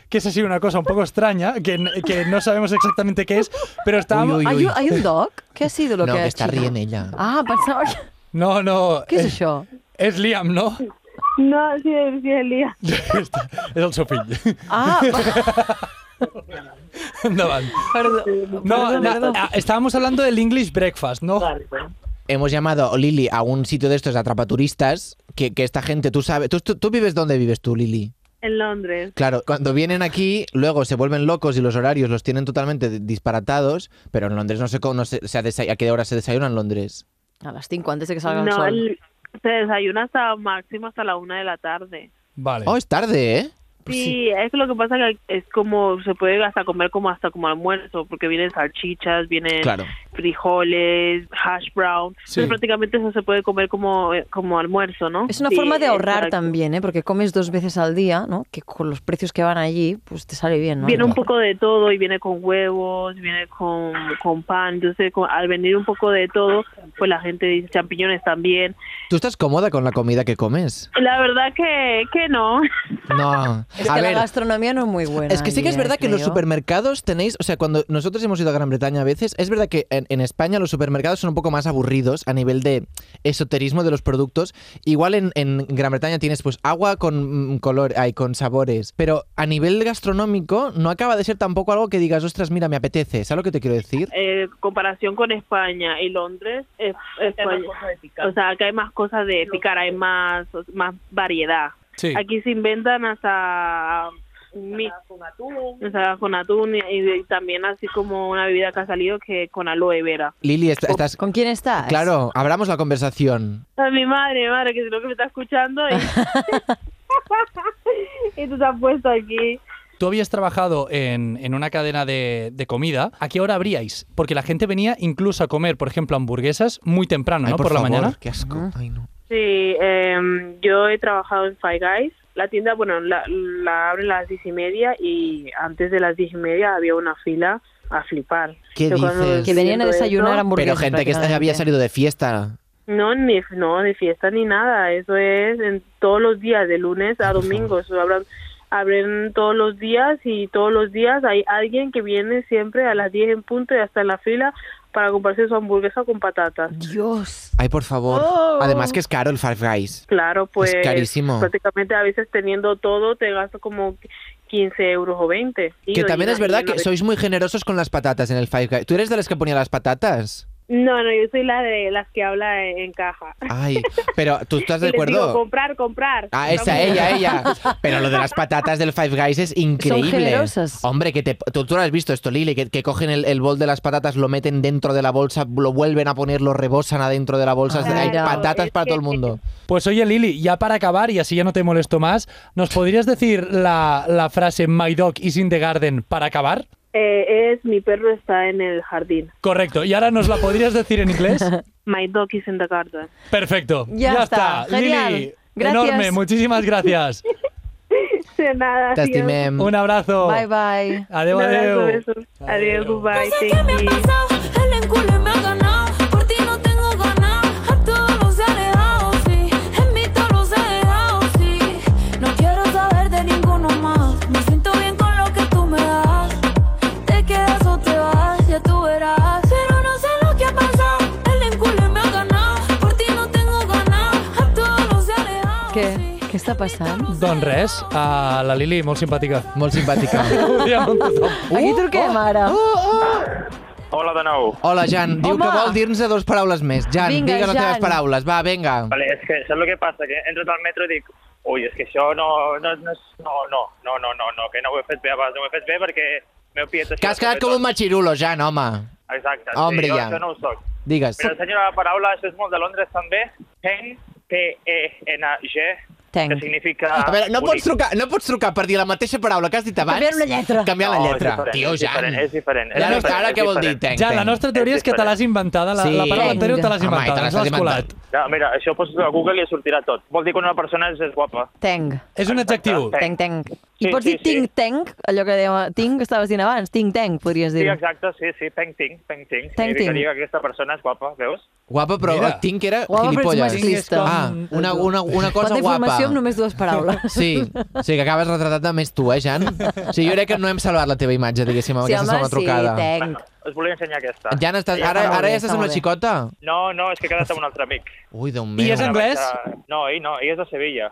D: Que es así una cosa un poco extraña, que, n- que no sabemos exactamente qué es, pero estábamos...
C: Hay, un, hay un doc? ¿Qué ha sido lo
D: No,
C: que
D: que
C: ha
D: está
C: hecho?
D: riendo ella.
C: Ah, pensaba que...
D: No, no.
C: Què és
D: eh,
C: això?
D: És Liam, no?
M: No, sí, sí, Elías.
D: És el seu fill.
C: Ah,
D: Endavant.
C: perdó.
D: No, na- ah, estábamos hablando del English breakfast, ¿no?
E: Hemos llamado, oh, Lili, a un sitio de estos atrapaturistas, que, que esta gente, tú sabes, ¿tú, tú, tú vives dónde vives tú, Lili?
M: En Londres.
E: Claro, cuando vienen aquí, luego se vuelven locos y los horarios los tienen totalmente di- disparatados, pero en Londres no sé, cómo- no sé se ha desay- a qué hora se desayuna en Londres.
C: A las 5 antes de que salga el
M: No,
C: sol.
M: el- se desayuna hasta máximo hasta la una de la tarde.
D: Vale.
E: Oh, es tarde, ¿eh?
M: Sí, es que lo que pasa que es como se puede hasta comer como hasta como almuerzo, porque vienen salchichas, vienen
E: Claro.
M: frijoles, hash brown,
C: Sí.
M: entonces prácticamente eso se puede comer como como almuerzo, ¿no?
C: Es una
M: Sí,
C: forma de ahorrar
M: exacto.
C: también, ¿eh? porque comes dos veces al día, ¿no? que con los precios que van allí, pues te sale bien. ¿no?
M: Viene un poco de todo y viene con huevos, viene con, con pan. Entonces, con- al venir un poco de todo, pues la gente dice champiñones también.
E: ¿Tú estás cómoda con la comida que comes?
M: La verdad que, que no.
E: No.
C: Es que
E: a
C: la
E: ver,
C: gastronomía no es muy buena.
E: Es que sí
C: allí,
E: que es
C: ¿eh?
E: verdad que en los
C: creo.
E: supermercados tenéis, o sea, cuando nosotros hemos ido a Gran Bretaña a veces, es verdad que en, en España los supermercados son un poco más aburridos a nivel de esoterismo de los productos. Igual en, en Gran Bretaña tienes pues agua con mm, color, ay, con sabores, pero a nivel gastronómico no acaba de ser tampoco algo que digas, ostras, mira, me apetece, ¿sabes lo que te quiero decir?
M: Eh, comparación con España y Londres, es- España- o sea, acá hay más cosas de picar, hay más, más variedad.
N: Sí.
M: Aquí se inventan hasta... um, mi- ensaladas con atún y, y también así como una bebida que ha salido que con aloe vera.
E: Lili, est- estás...
C: ¿Con quién estás?
E: Claro, abramos la conversación.
M: A mi madre, mi madre, que es lo que me está escuchando. Y, y tú te has puesto aquí.
D: tú habías trabajado en, en una cadena de, de comida, ¿a qué hora abríais? Porque la gente venía incluso a comer, por ejemplo, hamburguesas muy temprano,
E: Ay,
D: ¿no?
E: por
D: la
E: favor,
D: mañana.
E: qué asco. Ay, no.
M: Sí, em, yo he trabajado en Five Guys. La tienda, bueno, la, la abren a las diez y media y antes de las diez y media había una fila a flipar.
E: ¿Qué
M: Yo cuando
E: dices?
C: Que venían a
M: siento
C: desayunar
M: eso-
E: Pero
C: hamburguesas,
E: gente que esta- había
C: prácticamente.
E: salido de fiesta.
M: No, ni, no, de fiesta ni nada. Eso es en todos los días, de lunes a domingo. Eso abran- abren todos los días y todos los días hay alguien que viene siempre a las 10 en punto y hasta en la fila para comprarse su hamburguesa con patatas.
C: Dios.
E: Ay, por favor.
M: Oh.
E: Además que es caro el Five Guys.
M: Claro, pues
E: carísimo.
M: prácticamente a veces teniendo todo te gastas como 15 euros o 20. Y
E: Que
M: yo
E: también
M: iba-
E: es verdad
M: yo no
E: que sois muy generosos con las patatas en el Five Guys. ¿Tú eres de las que ponía las patatas?
M: No, no, yo soy la de las que habla en, en caja.
E: Ay, pero ¿tú estás de
M: Y les digo,
E: acuerdo?
M: comprar, comprar.
E: Ah, esa, ella, ella. Pero lo de las patatas del Five Guys es increíble.
C: generosas.
E: Hombre, que te, tú, tú lo has visto esto, Lili, que, que cogen el, el bol de las patatas, lo meten dentro de la bolsa, lo vuelven a poner, lo rebosan adentro de la bolsa.
C: Ah,
E: Hay
C: claro.
E: patatas
M: Es
E: para
M: que-
E: todo el mundo.
D: Pues oye, Lili, ya para acabar, y así ya no te molesto más, ¿nos podrías decir la, la frase My dog is in the garden para acabar?
M: Eh, es mi perro está en el jardín.
D: Correcto. ¿Y ahora nos la podrías decir en inglés?
M: My dog is in the garden.
D: Perfecto.
C: Ya está. Genial.
D: Lili,
C: Gracias.
D: enorme. Muchísimas gracias.
M: De nada.
E: T'estimem.
D: Un abrazo.
C: Bye, bye.
D: Adeu, adeu.
M: Adiós, goodbye.
L: Sé que me ha pasado, el enculo me ha ganado. Por ti no tengo ganas, a todos los he dejado, sí. En mí todos los he dejado, sí. No quiero saber de ninguno más. Me siento bien con lo que tú me das. Te quedas o te vas, ya tú verás. Pero no sé lo que ha pasado, el enculo me ha ganado. Por ti no tengo ganas, a todos los he dejado.
C: Què? Què està passant?
D: Don res, a la Lili, molt simpàtica.
E: Molt simpàtica.
D: Podríem amb tothom.
C: Aquí truquem ara.
E: Oh,
B: Hola de nou.
E: Hola, Jan. Diu
C: Home.
E: que vol dir-nos dues paraules més. Jan,
C: Vinga,
E: digues les
C: Jan.
E: teves paraules. Va, vinga.
B: Vale, és que saps el que passa? Que he entrat al metro i dic ui, és que això no, no, no, és- no, no, no, no, no, no, que no ho he fet bé abans, no ho he fet bé perquè m'he piet això.
E: Que has quedat com un machirulo, Jan, home.
B: Exacte,
E: Hombre,
B: sí, jo
E: ja.
B: això no ho soc.
E: Digues.
B: Però senyora, la paraula, això és molt de Londres també, pen, P-E-N-G, que
C: Tenc.
B: significa...
E: A veure, no pots,
B: ah, bonic.
E: trucar, no pots trucar per dir la mateixa paraula que has dit abans.
C: Canviar una lletra.
E: Canviar la
B: No, és
E: lletra.
B: diferent,
E: Tio,
B: és
E: Jan.
B: diferent, és diferent, és
E: Ja no,
B: diferent,
E: ara
B: és
E: què vol dir?
B: diferent.
E: Tenc,
D: Ja, la
E: tenc.
D: nostra teoria és que te l'has inventada, la,
E: Sí.
D: la paraula anterior te l'has
E: Home, i te
D: inventada, ens
E: l'has
D: l'has
E: inventat.
D: colat.
B: No, mira, això ho poso a Google i sortirà tot. Vol dir que una persona és, és guapa.
C: Tenc.
D: És un adjectiu.
C: Tenc,
B: Tenc.
C: tenc. I
B: Sí,
C: pots
B: sí,
C: dir
B: sí.
C: tinc, tenc, allò que dèiem, tinc, que estaves dient abans, tinc, tenc, podries
B: Sí,
C: dir.
B: exacte, sí, sí, peng ting, peng ting.
C: Peng
B: Significaria
C: ting.
B: que aquesta persona és guapa, veus?
E: Guapa, però
D: Mira.
E: tinc que era
C: Guapa, però ets
E: gilipolles.
C: masclista.
E: Ah, una, una, una cosa
C: Quanta
E: guapa.
C: informació amb només dues paraules.
E: Sí, sí, que acabes retratat més tu, eh, Jan? Sí, jo crec que no hem salvat la teva imatge, diguéssim, amb
C: sí,
E: aquesta
C: home,
E: segona trucada.
C: sí, tenc.
B: Us volia ensenyar aquesta.
E: Jan, estàs,
B: Ah, Ja
E: ara,
B: està molt
E: ara
C: bé,
E: ja estàs
C: està
E: amb la
C: molt bé.
E: xicota?
B: No, no, és que he quedat amb un altre amic.
E: Ui, Déu meu.
D: I és anglès?
B: No, ell no, ell és de Sevilla.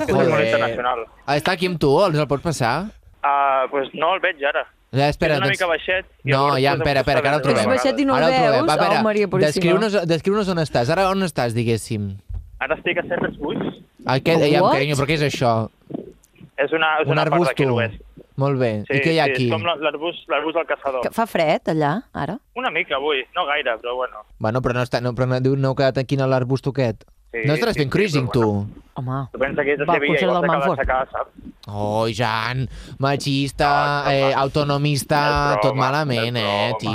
B: És un humor internacional.
E: Joder. Ah, Està aquí amb tu, ens el pots passar?
B: Ah, doncs pues no el veig ara.
E: Ja, espera,
B: és una
E: doncs...
B: mica baixet. i
E: No,
B: llavors
E: ja,
B: pues em
E: espera, espera,
B: costa
E: que ara el
B: veure.
E: trobem.
C: És baixet i no el
E: Ara trobem.
C: veus?
E: Va, espera,
C: Oh, Maria Puríssima.
E: Descriu-nos descriu on estàs. Ara on estàs, diguéssim?
B: Ara estic a Set Esbuix.
E: Ai, què, ai,
C: What?
E: carinyo, però què és això?
B: És una, és
E: Un
B: una part
E: arbusto.
B: d'aquí l'oest.
E: Molt bé. I què hi ha
B: sí,
E: aquí?
B: És com la- l'arbust l'arbust del caçador.
C: Que fa fred allà, ara?
B: Una mica avui, no gaire, però bueno.
E: Bueno, però no, està, no, però no, diu, no heu quedat aquí en l'arbusto aquest.
B: Sí,
E: no estaràs
B: sí,
E: fent
B: sí,
E: cruising,
B: però
E: tu?
C: Home,
B: Tu pensa que és de
C: Va,
B: Sevilla,
C: concert
B: igual
C: del
B: t'acabes
C: Manfort.
B: a casa, saps?
E: Oh, Jan, machista,
B: No, és
E: eh,
B: broma.
E: autonomista,
B: És broma,
E: tot malament,
B: és
E: eh,
B: broma.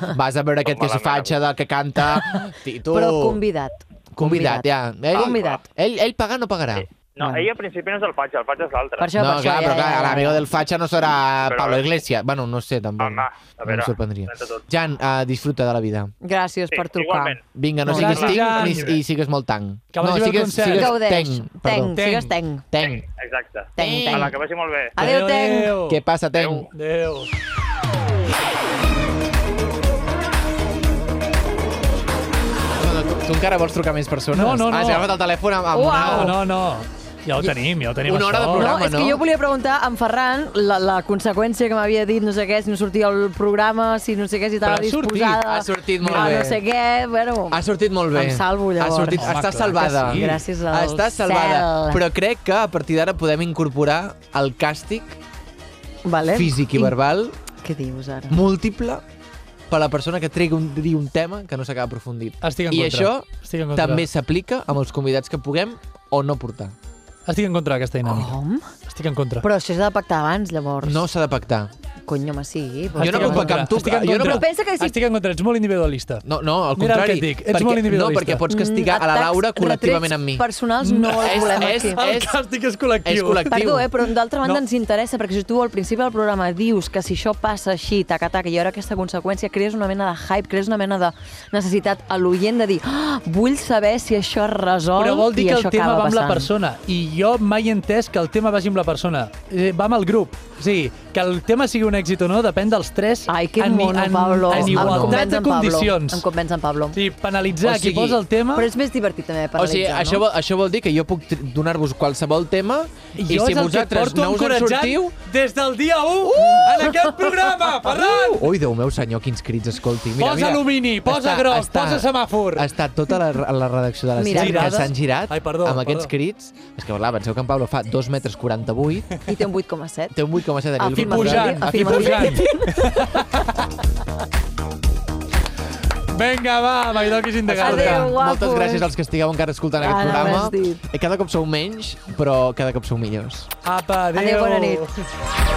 E: Tito. Vas a veure aquest que s'hi
B: malament,
E: fatxa del que canta, Tito.
C: però convidat.
E: Convidat, ja. Ell,
C: Convidat.
E: Ell, ell paga o no pagarà?
B: No,
E: Bueno.
B: ell al principi no és el Fatxa, el Fatxa és l'altre.
C: Per això,
E: no,
C: per
E: clar,
C: això, ja, ja,
E: però clar,
C: ja.
E: l'amigo del Facha no serà
B: Però-
E: Pablo Iglesias. Bueno, no sé, tampoc.
B: Home, a
E: no
B: veure,
E: em sorprendria.
B: entre tot.
E: Jan, uh, disfruta de la vida.
C: Gràcies
B: Sí,
C: per trucar.
B: igualment.
E: Vinga, no
D: Molt
E: siguis
D: bé.
E: tinc
D: Gràcies, Jan.
E: ni, i sigues molt tanc.
D: Que vagi
E: no,
D: bé el
E: sigues,
D: concert.
E: sigues
C: Gaudeix.
E: tenc, perdó.
C: Tenc,
D: Tenc.
C: sigues tenc.
E: Tenc.
B: Exacte.
C: Tenc,
B: A la
C: tenc.
B: que vagi molt bé.
C: Adéu, tenc.
D: Adeu.
E: Què passa, tenc?
D: Adéu.
E: No, no, tu encara vols trucar a més persones?
D: No, no, no.
E: Ah, has agafat el telèfon amb, amb
D: No,
E: una...
D: no, no. Ja ho tenim, ja ho tenim,
E: Una hora de
D: això.
E: programa.
C: No, és que
E: no?
C: jo volia preguntar a en Ferran la, la conseqüència que m'havia dit, no sé què, si no sortia el programa, si no sé què, si estava
D: Però ha sortit,
C: disposada...
E: ha sortit molt
C: a
E: bé. Ah,
C: No sé què, bueno...
E: Ha sortit molt bé.
C: Em salvo, llavors.
E: Ha sortit,
D: Home,
E: està
D: clar
E: salvada.
D: que sí.
C: Gràcies al
E: Està salvada.
C: cel.
E: Però crec que a partir d'ara podem incorporar el càstig
C: Vale.
E: físic i verbal
C: Què dius ara?
E: múltiple per a la persona que tregui un, digui un tema que no s'acaba aprofundit.
D: Estic en
E: I
D: contra.
E: això
D: Estic en contra.
E: també s'aplica amb els convidats que puguem o no portar.
D: Estic en contra d'aquesta dinàmica. Oh. Estic en contra.
C: Però això s'ha de pactar abans, llavors.
E: No s'ha de pactar.
C: Conyo, home, sí.
E: Jo no puc pactar amb tu.
D: Estic en
E: jo
D: contra.
E: no puc-
C: Pensa que si-
D: Estic en contra, ets molt individualista.
E: No, no, al
D: Mira el
E: contrari.
D: que et dic, ets
E: perquè,
D: molt individualista.
E: No, perquè pots castigar
C: Mm,
E: a la
C: atacs,
E: Laura col·lectivament
C: retrets
E: amb mi.
C: personals no els
E: és-
C: volem
E: és-
C: aquí.
E: és-
D: Càstig és col·lectiu.
E: És col·lectiu.
C: Perdó, eh, però d'altra banda
E: No.
C: ens interessa, perquè si tu al principi del programa dius que si això passa així, taca, taca, hi haurà aquesta conseqüència, crees una mena de hype, crees una mena de necessitat a l'oient de dir ah, vull saber si això es resol
D: Però vol dir
C: i
D: que el
C: això
D: tema
C: acaba
D: va amb la
C: passant.
D: persona. I jo mai he entès que el tema vagi amb la persona. Eh, va amb el grup. O sigui, que el tema sigui un èxit o no depèn dels tres Ai,
C: Que mono,
D: en,
C: Pablo.
D: en
C: Em convenç
D: igualtat de
C: en Pablo.
D: condicions.
C: Em convenç en Pablo.
D: Sí, penalitzar
E: O
D: qui
E: sigui-
D: posa el tema...
C: Però és més divertit també
E: O sigui,
C: penalitzar,
E: això,
C: no?
E: vol, això vol dir que jo puc tr- donar-vos qualsevol tema i,
D: Jo
E: si
D: és el que et
E: vosaltres
D: porto
E: no us en
D: encoratjant Uh!
E: sortiu...
D: des del dia 1 en aquest programa, Ferran!
E: Ui, Déu meu senyor, quins crits, escolti. Mira,
D: Posa
E: mira.
D: alumini, posa groc, posa
E: semàfor. Està tota la, la redacció de la
C: Mira.
E: sèrie que
C: Girades.
E: s'han girat
D: Ai, perdó,
E: amb aquests
D: perdó.
E: crits. És que, clar, penseu que en Pablo fa 2 metres 48,
C: I té un 8,7.
E: té un 8,7 de
C: Afirma-
D: Pujant, aquí
C: Afirma-
D: pujant. Vinga, va, Maidoquis in the Garden.
E: Escolta, Moltes gràcies als que estigueu encara escoltant
C: Ara
E: aquest Eh,
C: m'ho has
E: programa. Cada cop sou menys, però cada cop sou millors.
D: Apa, adéu.
C: Adéu, bona nit.